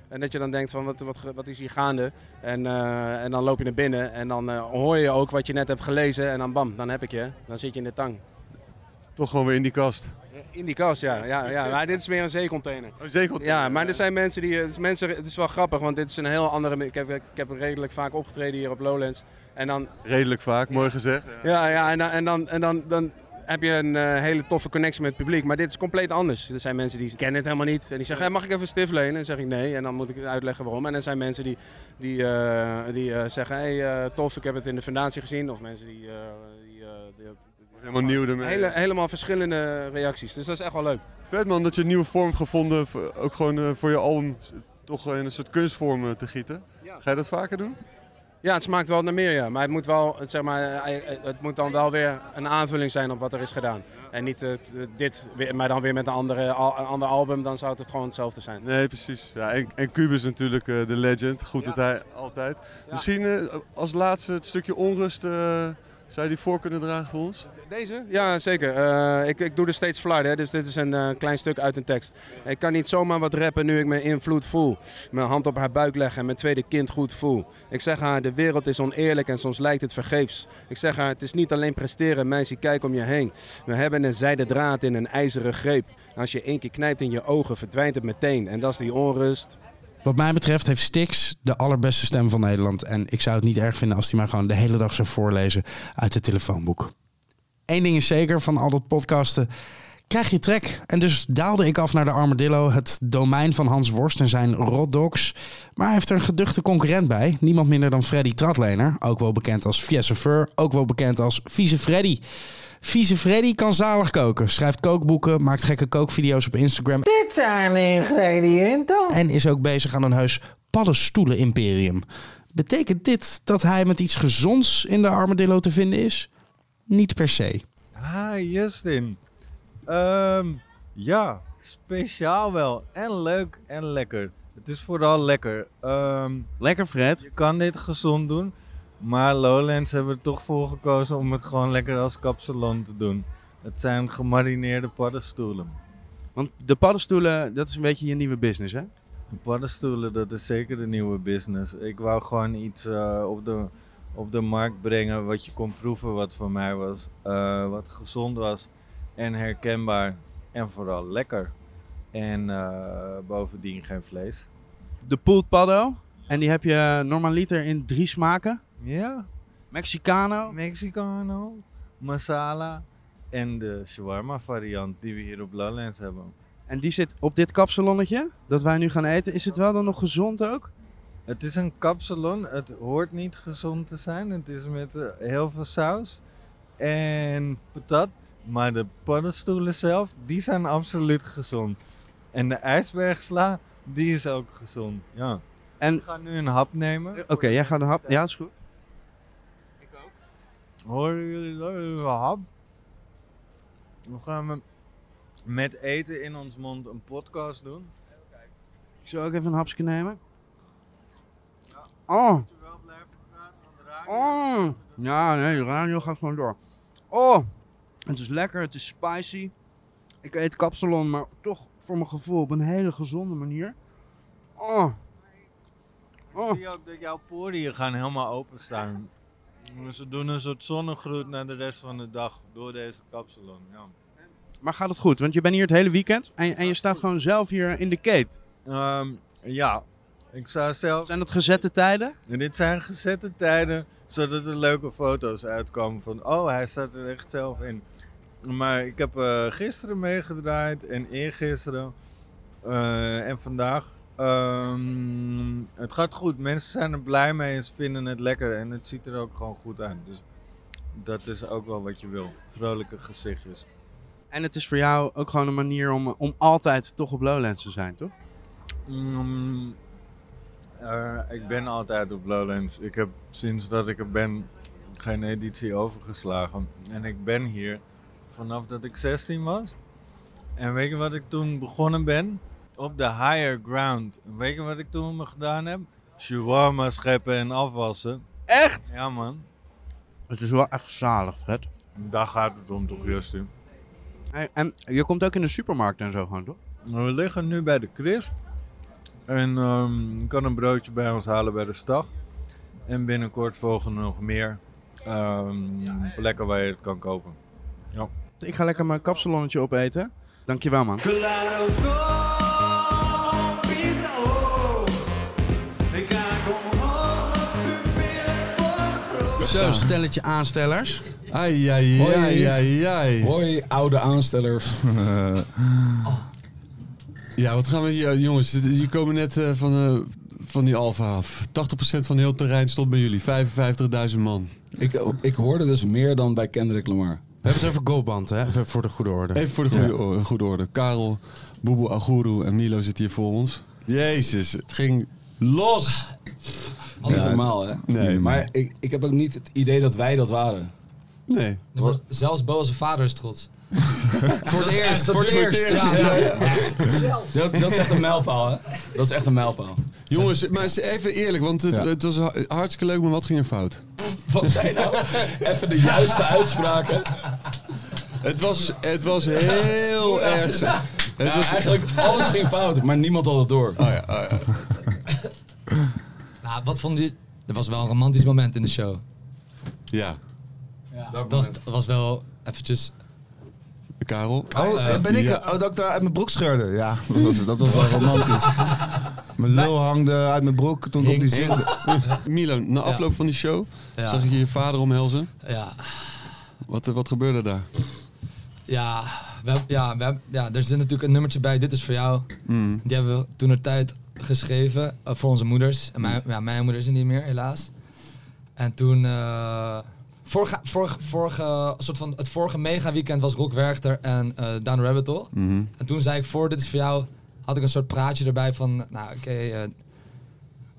Speaker 11: En dat je dan denkt van wat, wat, wat is hier gaande? En, eh, en dan loop je naar binnen en dan eh, hoor je ook wat je net hebt gelezen en dan bam, dan heb ik je. Dan zit je in de tang.
Speaker 2: Toch gewoon weer in die kast.
Speaker 11: In die kast, ja. ja, ja. Maar dit is meer een zeecontainer.
Speaker 2: Oh, zeker.
Speaker 11: Ja, maar er zijn mensen die. eh, Het is, mensen, het is wel grappig, want dit is een heel andere. Ik heb, ik heb redelijk vaak opgetreden hier op Lowlands. En dan
Speaker 2: Redelijk vaak, mooi gezegd.
Speaker 11: ja, ja en, dan, en, dan, en dan, dan heb je een eh, hele toffe connectie met het publiek. Maar dit is compleet anders. Er zijn mensen die kennen het helemaal niet. En die zeggen, "Hey, mag ik even een stift lenen? En dan zeg ik nee. En dan moet ik uitleggen waarom. En er zijn mensen die, die, eh, die eh, zeggen, hey, eh, tof, ik heb het in de fundatie gezien. Of mensen die... eh, die, eh, die-
Speaker 2: Helemaal nieuw ermee.
Speaker 11: Hele, helemaal verschillende reacties. Dus dat is echt wel leuk.
Speaker 2: Vet man, dat je een nieuwe vorm hebt gevonden, voor- ook gewoon eh, voor je album, s- toch in een soort kunstvorm eh, te gieten.
Speaker 11: Ja.
Speaker 2: Ga je dat vaker doen?
Speaker 11: Ja, het smaakt wel naar meer, ja. Maar het moet, wel, het, zeg maar, eh, het moet dan wel weer een aanvulling zijn op wat er is gedaan. En niet eh, dit, weer- maar dan weer met een, andere, al- een ander album. Dan zou het gewoon hetzelfde zijn.
Speaker 2: Nee, precies. Ja, en, en Cubus natuurlijk eh, de legend. Goed
Speaker 11: Ja.
Speaker 2: dat hij altijd. Misschien eh, als laatste het stukje onrust. eh, Zou je die voor kunnen dragen voor ons?
Speaker 11: Deze? Ja, zeker. Eh, ik, ik doe er steeds fly, hè, dus dit is een eh, klein stuk uit een tekst. Ik kan niet zomaar wat rappen nu ik mijn invloed voel. Mijn hand op haar buik leggen en mijn tweede kind goed voel. Ik zeg haar, de wereld is oneerlijk en soms lijkt het vergeefs. Ik zeg haar, het is niet alleen presteren, meisje, kijk om je heen. We hebben een zijden draad in een ijzeren greep. Als je één keer knijpt in je ogen, verdwijnt het meteen. En dat is die onrust.
Speaker 1: Wat mij betreft heeft Stix de allerbeste stem van Nederland. En ik zou het niet erg vinden als hij maar gewoon de hele dag zou voorlezen uit het telefoonboek. Eén ding is zeker van al dat podcasten. Krijg je trek. En dus daalde ik af naar de Armadillo, het domein van Hans Worst en zijn Rotdogs. Maar hij heeft er een geduchte concurrent bij. Niemand minder dan Freddy Tratlener. Ook wel bekend als Fiessefeur, ook wel bekend als Vieze Freddy. Vieze Freddy kan zalig koken, schrijft kookboeken, maakt gekke kookvideo's op Instagram.
Speaker 12: Dit zijn de ingrediënten.
Speaker 1: En is ook bezig aan een heus paddenstoelen-imperium. Betekent dit dat hij met iets gezonds in de armadillo te vinden is? Niet per se.
Speaker 13: Hi, Ah, Justin. Ehm, ja, speciaal wel. En leuk en lekker. Het is vooral lekker. Ehm,
Speaker 14: lekker, Fred.
Speaker 13: Je kan dit gezond doen. Maar Lowlands hebben er toch voor gekozen om het gewoon lekker als kapsalon te doen. Het zijn gemarineerde paddenstoelen.
Speaker 14: Want de paddenstoelen, dat is een beetje je nieuwe business, hè?
Speaker 13: De paddenstoelen, dat is zeker de nieuwe business. Ik wou gewoon iets eh, op, de, op de markt brengen wat je kon proeven, wat voor mij was, eh, wat gezond was en herkenbaar en vooral lekker. En eh, bovendien geen vlees.
Speaker 14: De pulled paddo. En die heb je normaliter in drie smaken.
Speaker 13: Ja.
Speaker 14: Mexicano.
Speaker 13: Mexicano, masala en de shawarma variant die we hier op Lowlands hebben.
Speaker 14: En die zit op dit kapsalonnetje dat wij nu gaan eten. Is het wel dan nog gezond ook?
Speaker 13: Het is een kapsalon. Het hoort niet gezond te zijn. Het is met eh, heel veel saus en patat. Maar de paddenstoelen zelf, die zijn absoluut gezond. En de ijsbergsla, die is ook gezond. Ja. Dus
Speaker 14: En... Eh,
Speaker 13: Ik ga nu een hap nemen.
Speaker 14: Oké, jij gaat een hap. Ja, is goed.
Speaker 13: Horen jullie dat? Een hap. We gaan met- met eten in ons mond een podcast doen.
Speaker 14: Ik zal ook even een hapje nemen. Oh. Oh. Ja, nee, de radio gaat gewoon door. Oh. Het is lekker, het is spicy. Ik eet kapsalon, maar toch voor mijn gevoel op een hele gezonde manier. Oh.
Speaker 13: Ik zie ook dat jouw poriën gaan helemaal openstaan. Ze doen een soort zonnegroet naar de rest van de dag door deze kapsalon. Ja.
Speaker 14: Maar gaat het goed? Want je bent hier het hele weekend en, en je staat gewoon zelf hier in de kate.
Speaker 13: Ehm, ja, ik zou zelf...
Speaker 14: Zijn dat gezette tijden?
Speaker 13: En dit zijn gezette tijden, zodat er leuke foto's uitkomen van... Oh, hij staat er echt zelf in. Maar ik heb eh, gisteren meegedraaid en eergisteren eh, en vandaag. Ehm, het gaat goed. Mensen zijn er blij mee en ze vinden het lekker. En het ziet er ook gewoon goed uit. Dus dat is ook wel wat je wil. Vrolijke gezichtjes.
Speaker 14: En het is voor jou ook gewoon een manier om, om altijd toch op Lowlands te zijn, toch?
Speaker 13: Mm, eh, ik ben altijd op Lowlands. Ik heb sinds dat ik er ben geen editie overgeslagen. En ik ben hier vanaf dat ik 16 was. En weet je wat ik toen begonnen ben? Op de higher ground. En Weet je wat ik toen gedaan heb? Shawarma scheppen en afwassen.
Speaker 14: Echt?
Speaker 13: Ja man.
Speaker 14: Het is wel echt zalig, Fred.
Speaker 13: Daar gaat het om toch, Justin?
Speaker 14: en je komt ook in de supermarkt en zo gewoon, toch?
Speaker 13: Nou, We liggen nu bij de crisp. En ehm, je kan een broodje bij ons halen bij de stag. En binnenkort volgen nog meer ehm, plekken waar je het kan kopen. Ja.
Speaker 14: Ik ga lekker mijn kapsalonnetje opeten. Dankjewel, man.
Speaker 8: Claros com pizza Vem cá como rola, pupila por groot.
Speaker 1: Zo, stelletje aanstellers.
Speaker 2: Ai, ai,
Speaker 15: Hoi.
Speaker 2: ai, ai,
Speaker 15: Hoi, oude aanstellers.
Speaker 2: Ja, wat gaan we hier... Jongens, dit is- jullie komen net eh, van, eh, van die Alfa af. 80% van heel het terrein stond bij jullie. 55.000 man.
Speaker 15: Ik, ik hoorde dus meer dan bij Kendrick Lamar.
Speaker 1: We hebben het over goalband, hè? Even voor de goede orde.
Speaker 2: Even voor de goede, or- goede orde. Karel, Boeboe Aguru en Milo zitten hier voor ons. Jezus, het ging los.
Speaker 15: Niet
Speaker 2: Ja,
Speaker 15: normaal, hè?
Speaker 2: Nee.
Speaker 15: Maar ik, ik heb ook niet het idee dat wij dat waren.
Speaker 2: Nee.
Speaker 16: Zelfs Bo als vader is trots.
Speaker 15: Voor het eerst, voor het eerst. Ja, ja, ja. Dat, dat is echt een mijlpaal, hè? Dat is echt een mijlpaal.
Speaker 2: Jongens, maar eens even eerlijk, want het,
Speaker 15: Ja.
Speaker 2: het was ha- hartstikke leuk, maar wat ging er fout?
Speaker 15: Wat zijn nou? Even de juiste uitspraken.
Speaker 2: Het was, het was heel erg. sa- Het
Speaker 15: Nou,
Speaker 2: was
Speaker 15: eigenlijk alles ging fout, maar niemand had het door. Oh
Speaker 2: ja, oh ja.
Speaker 16: Nou, wat vond je... Er was wel een romantisch moment in de show.
Speaker 2: Ja.
Speaker 16: dat, was, dat was wel eventjes...
Speaker 2: Karel?
Speaker 17: Oh,
Speaker 16: Eh,
Speaker 17: ben ik?
Speaker 16: ja.
Speaker 17: Oh, dat ik daar uit mijn broek scheurde. Ja, dat was, dat was wel romantisch. Mijn lul hangde uit mijn broek toen ik op die zin.
Speaker 2: Milo, na afloop van die show
Speaker 16: Ja.
Speaker 2: zag ik je je vader omhelzen.
Speaker 16: Ja.
Speaker 2: Wat, eh, wat gebeurde daar?
Speaker 16: Ja, we, ja, we, ja, er zit natuurlijk een nummertje bij. Dit is voor jou.
Speaker 2: Mm.
Speaker 16: Die hebben we toen een tijd geschreven eh, voor onze moeders. En
Speaker 2: Mhm.
Speaker 16: mijn, ja, mijn moeder is er niet meer, helaas. En toen... eh, vorige, vorige, vorige, soort van, het vorige mega weekend was Rock Werchter en eh Down the Rabbit Hole.
Speaker 8: Mhm.
Speaker 16: En toen zei ik voor Dit is voor jou... had ik een soort praatje erbij van... Nou, oké, eh,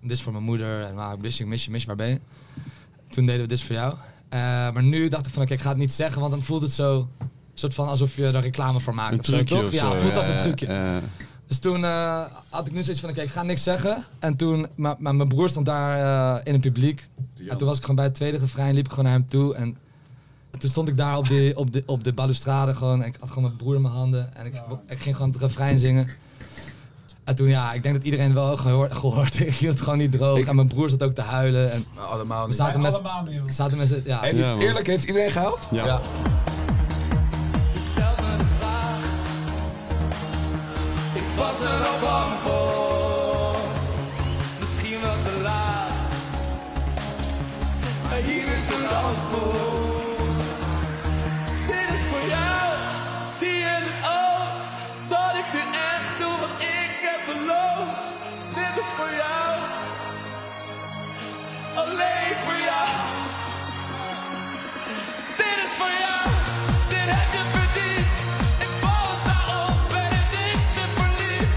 Speaker 16: dit is voor mijn moeder. En waar mis je, mis je, mis je, waar ben je? Toen deden we Dit is voor jou. Eh, maar nu dacht ik van, oké, ik ga het niet zeggen... want dan voelt het zo... soort van alsof je er reclame voor maakt.
Speaker 2: Een
Speaker 16: of zo,
Speaker 2: trucje
Speaker 16: toch?
Speaker 2: of
Speaker 16: Ja,
Speaker 2: zo,
Speaker 16: het voelt
Speaker 2: ja,
Speaker 16: als een
Speaker 2: ja,
Speaker 16: trucje.
Speaker 2: ja.
Speaker 16: Dus toen eh, had ik nu zoiets van, oké, ik ga niks zeggen. En toen, maar, maar mijn broer stond daar eh, in het publiek. En toen was ik gewoon bij het tweede refrein, liep ik gewoon naar hem toe. En, en toen stond ik daar op de, op de, op de balustrade gewoon. En ik had gewoon mijn broer in mijn handen. En ik, ik ging gewoon het refrein zingen. En toen, ja, ik denk dat iedereen wel gehoord, gehoord. Ik hield het gewoon niet droog. En mijn broer zat ook te huilen. En allemaal we
Speaker 17: niet.
Speaker 16: zaten
Speaker 17: Wij
Speaker 16: met,
Speaker 17: allemaal
Speaker 16: we zaten met z'n- ja.
Speaker 15: Nou, Heeft, eerlijk, heeft iedereen gehaald?
Speaker 2: Ja.
Speaker 8: Stel me de vraag. Ik was er al bang voor. Misschien wel te laat. Maar hier is het antwoord. Dit is voor jou. Zie je het ook? Dat ik nu echt doe wat ik heb beloofd. Dit is voor jou. Alleen voor jou. Dit is voor jou. Dit heb je verdiend. Ik val daarop, ben er niks te verliezen.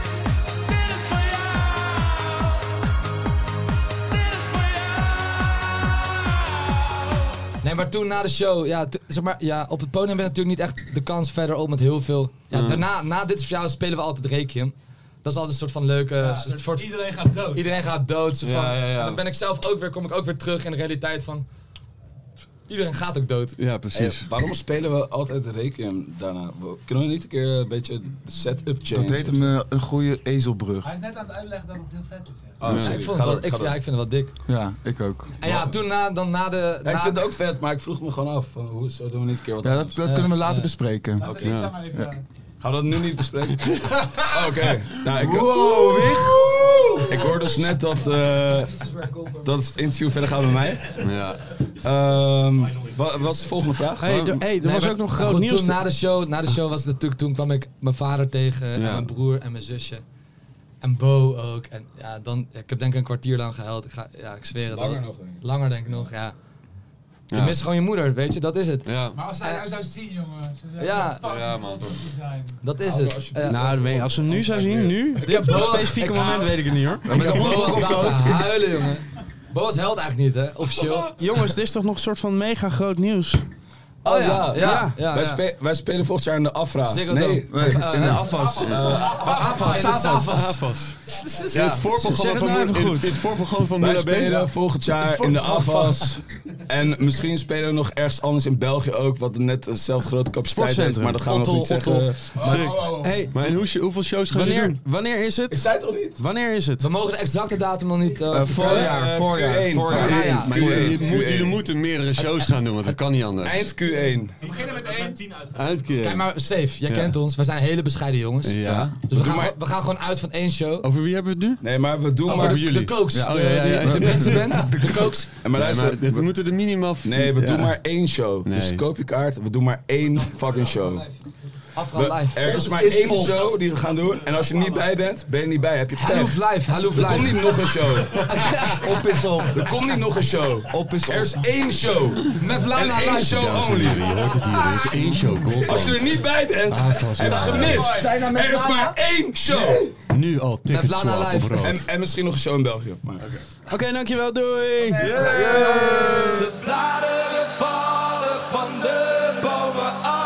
Speaker 8: Dit is voor jou.
Speaker 16: Nee, maar toen na de show, ja, to- zeg maar, ja, op het podium heb je natuurlijk niet echt de kans verder om met heel veel. Ja,
Speaker 15: Mm.
Speaker 8: Mhm.
Speaker 16: Daarna, na dit is voor jou spelen we altijd Requiem. Dat is altijd een soort van leuke. soort, iedereen gaat dood. Iedereen gaat dood. zo
Speaker 8: Ja,
Speaker 16: van,
Speaker 8: ja, ja.
Speaker 16: En dan ben ik zelf ook weer, kom ik ook weer terug in de realiteit van. Iedereen gaat ook dood.
Speaker 2: Ja,
Speaker 15: Hey, Eh, waarom spelen we altijd Requiem daarna? We- Kunnen we niet een keer een beetje de setup change?
Speaker 17: Dat deed hem eh, een goede ezelbrug.
Speaker 18: Hij is net aan het uitleggen dat het heel vet is.
Speaker 15: Oh,
Speaker 17: Ja.
Speaker 15: sorry.
Speaker 16: eh, Ik, vond
Speaker 15: Ga
Speaker 16: het wel,
Speaker 15: door,
Speaker 16: ik,
Speaker 15: ga
Speaker 16: ja, ik vind het wel dik.
Speaker 17: Ja, ik ook.
Speaker 16: En ja, toen na, dan na de.
Speaker 15: Ja, ik
Speaker 16: na
Speaker 15: vind het ook vet, maar ik vroeg me gewoon af. Van, hoe, zo doen we niet een keer wat
Speaker 17: Ja, dat,
Speaker 18: dus,
Speaker 15: anders.
Speaker 17: dat
Speaker 18: eh,
Speaker 17: kunnen we later bespreken.
Speaker 15: Laten we Oké. iets aan maar even laten. Gaan we dat nu niet bespreken? Oké. Nou, ik,
Speaker 17: Wow,
Speaker 15: Ik hoorde dus net dat... eh, dat het interview verder gaat bij mij. Ehm,
Speaker 2: Ja.
Speaker 15: wat was de volgende vraag?
Speaker 1: Hey, de- hey, er was ook nog
Speaker 16: maar
Speaker 1: groot
Speaker 16: goed,
Speaker 1: nieuws
Speaker 16: Toen,
Speaker 1: te-
Speaker 16: na, de show, na de show was het natuurlijk, toen kwam ik mijn vader tegen en
Speaker 1: Ja.
Speaker 16: mijn broer en mijn zusje. En Bo ook. En ja, dan, ik heb denk ik een kwartier lang gehuild. Ik, ga, ja, ik zweer het.
Speaker 15: Langer
Speaker 16: Dat-
Speaker 15: nog, denk ik.
Speaker 16: Langer denk ik nog, ja. Je
Speaker 15: Ja.
Speaker 16: mist gewoon je
Speaker 19: Eh,
Speaker 16: moeder, weet je, dat is het.
Speaker 2: Ja.
Speaker 18: Maar als hij jou zou zien, jongen. ze zou
Speaker 16: Ja.
Speaker 18: fucking
Speaker 16: Ja,
Speaker 2: man.
Speaker 18: trots op je zijn.
Speaker 16: Dat is het. Ja.
Speaker 1: Nou, weet- als ze hem nu zou zien, nu,
Speaker 16: Ik
Speaker 1: dit
Speaker 16: heb Bo als-
Speaker 1: specifieke
Speaker 16: ik-
Speaker 1: moment weet ik het niet hoor.
Speaker 16: Ik heb Bo als laten huilen, jongen. Bo was held eigenlijk niet, hè, officieel.
Speaker 1: Jongens, dit is toch nog een soort van mega groot nieuws?
Speaker 16: Oh ja, ja, ja.
Speaker 15: wij,
Speaker 16: ja.
Speaker 15: spe- wij spelen volgend jaar in de Afra.
Speaker 16: Ziggo
Speaker 15: nee,
Speaker 16: Dome. Of, eh,
Speaker 15: in de Afas.
Speaker 16: Afas.
Speaker 15: Eh,
Speaker 16: Afas.
Speaker 15: Afas.
Speaker 16: Afas.
Speaker 15: Afas.
Speaker 16: Zeg
Speaker 15: Ja.
Speaker 16: het nou even
Speaker 15: Moer-
Speaker 16: goed.
Speaker 15: in- in het voorprogramma van
Speaker 16: Wij
Speaker 15: Moela B.
Speaker 16: spelen
Speaker 15: volgend jaar in de Afas. En misschien spelen we nog ergens anders in België ook, wat net dezelfde grote capaciteit heeft.
Speaker 1: Sportcentrum.
Speaker 15: Maar dat gaan we nog niet
Speaker 1: Otto, Otto.
Speaker 15: zeggen.
Speaker 1: Sick.
Speaker 16: Oh.
Speaker 1: Hey,
Speaker 2: maar hoeveel shows
Speaker 15: gaan jullie
Speaker 1: wanneer, wanneer is het? Ik
Speaker 15: zei het al niet.
Speaker 1: Wanneer is het?
Speaker 16: We mogen de exacte datum nog niet. eh, vertellen. Eh,
Speaker 15: voorjaar, voorjaar,
Speaker 2: Q1.
Speaker 15: voorjaar.
Speaker 2: Maar
Speaker 15: Ja, ja.
Speaker 2: jullie- jullie,
Speaker 15: Q1.
Speaker 2: moeten- jullie moeten meerdere shows gaan doen, want dat kan niet anders.
Speaker 15: Eind Q1.
Speaker 18: We beginnen met één. tien uit.
Speaker 2: Eind Q1.
Speaker 16: Kijk maar, Steve, jij
Speaker 2: Ja.
Speaker 16: kent ons. We zijn hele bescheiden jongens.
Speaker 2: Ja.
Speaker 16: Dus we gaan,
Speaker 15: maar-
Speaker 16: gewoon- we gaan gewoon uit van één show.
Speaker 2: Over wie hebben we het nu?
Speaker 15: Nee, maar we doen
Speaker 16: Over
Speaker 15: maar...
Speaker 16: de- de Cokes. Ja, oh, ja, ja, ja. De- de- de mensenband, de Cokes.
Speaker 15: En maar
Speaker 2: Nee,
Speaker 15: luister,
Speaker 2: maar dit
Speaker 15: we
Speaker 2: moeten er minimaal... v-
Speaker 15: Nee, we
Speaker 2: Ja.
Speaker 15: doen maar één show. Dus
Speaker 2: Nee.
Speaker 15: koop je kaart, we doen maar één fucking show.
Speaker 16: Afra
Speaker 15: We,
Speaker 16: live.
Speaker 15: er is maar één show die we gaan doen. En als je niet bij bent, ben je niet bij. Heb je pech.
Speaker 16: Haloof live, haloof
Speaker 15: Er
Speaker 16: live.
Speaker 15: komt niet nog een show. op is op. Er komt niet nog een show.
Speaker 17: Op is op.
Speaker 15: Er is één show.
Speaker 16: Met
Speaker 15: en
Speaker 16: Lana
Speaker 15: één
Speaker 16: live.
Speaker 15: show
Speaker 2: Dames en
Speaker 15: only.
Speaker 2: heren, je hoort het hier. dus. Er is één show, Goldband.
Speaker 15: Als je er niet bij bent,
Speaker 8: Ah,
Speaker 2: Avas
Speaker 15: heb je
Speaker 2: live.
Speaker 15: gemist.
Speaker 17: Zijn er met
Speaker 15: Er is
Speaker 17: Lana?
Speaker 15: maar één show.
Speaker 2: Nu al
Speaker 15: Met
Speaker 2: tickets swap op rood.
Speaker 15: En, en misschien nog een show in België. Maar.
Speaker 1: Oké,
Speaker 8: nou,
Speaker 1: dankjewel, doei!
Speaker 8: De bladeren vallen van de bomen af.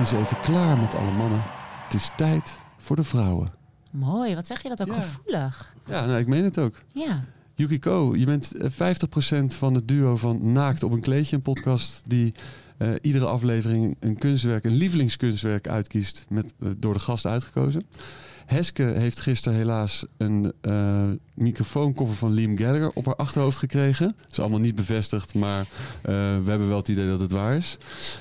Speaker 2: is even klaar met alle mannen. Het is tijd voor de vrouwen.
Speaker 20: Mooi, wat zeg je dat ook gevoelig.
Speaker 2: Ja, nou, ik meen het ook.
Speaker 20: Ja.
Speaker 2: Yukiko, je bent eh, 50% van het duo van Naakt op een kleedje, een podcast die eh, iedere aflevering een kunstwerk, een lievelingskunstwerk uitkiest, met, eh, door de gast uitgekozen. Heske heeft gisteren helaas een eh, microfoonkoffer van Liam Gallagher op haar achterhoofd gekregen. Dat is allemaal niet bevestigd, maar eh, we hebben wel het idee dat het waar is.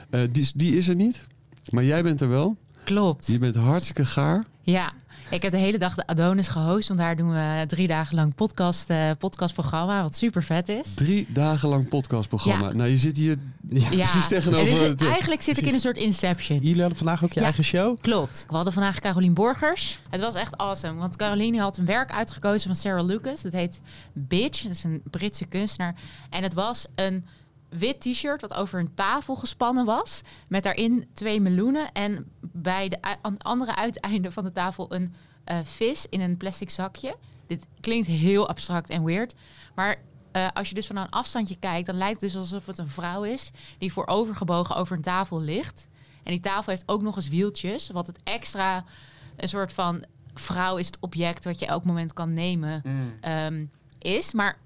Speaker 2: Eh, die, die is er niet, maar jij bent er wel.
Speaker 20: Klopt.
Speaker 2: Je bent hartstikke gaar.
Speaker 20: Ja, ik heb de hele dag de Adonis gehost. Want daar doen we drie dagen lang podcast, eh, podcastprogramma. Wat super vet is.
Speaker 2: Drie dagen lang podcastprogramma.
Speaker 20: Ja.
Speaker 2: Nou, je zit hier precies tegenover.
Speaker 20: Dus Het is-
Speaker 2: het-
Speaker 20: eigenlijk zit ik in een soort inception.
Speaker 1: Jullie hadden vandaag ook je
Speaker 20: Ja.
Speaker 1: eigen show.
Speaker 20: Klopt. We hadden vandaag Carolien Borgers. Het was echt awesome. Want Caroline had een werk uitgekozen van Sarah Lucas. Dat heet Bitch. Dat is een Britse kunstenaar. En het was een wit t-shirt wat over een tafel gespannen was. Met daarin twee meloenen. En bij de u- aan het andere uiteinde van de tafel een eh, vis in een plastic zakje. Dit klinkt heel abstract en weird. Maar eh, als je dus van een afstandje kijkt, dan lijkt het dus alsof het een vrouw is die voorovergebogen over een tafel ligt. En die tafel heeft ook nog eens wieltjes, wat het extra een soort van vrouw is het object wat je elk moment kan nemen ehm, is. Maar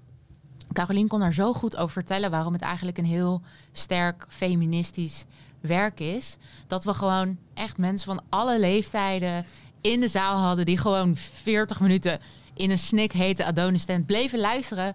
Speaker 20: Carolien kon daar zo goed over vertellen waarom het eigenlijk een heel sterk feministisch werk is. Dat we gewoon echt mensen van alle leeftijden in de zaal hadden die gewoon 40 minuten in een snik hete Adonis stand bleven luisteren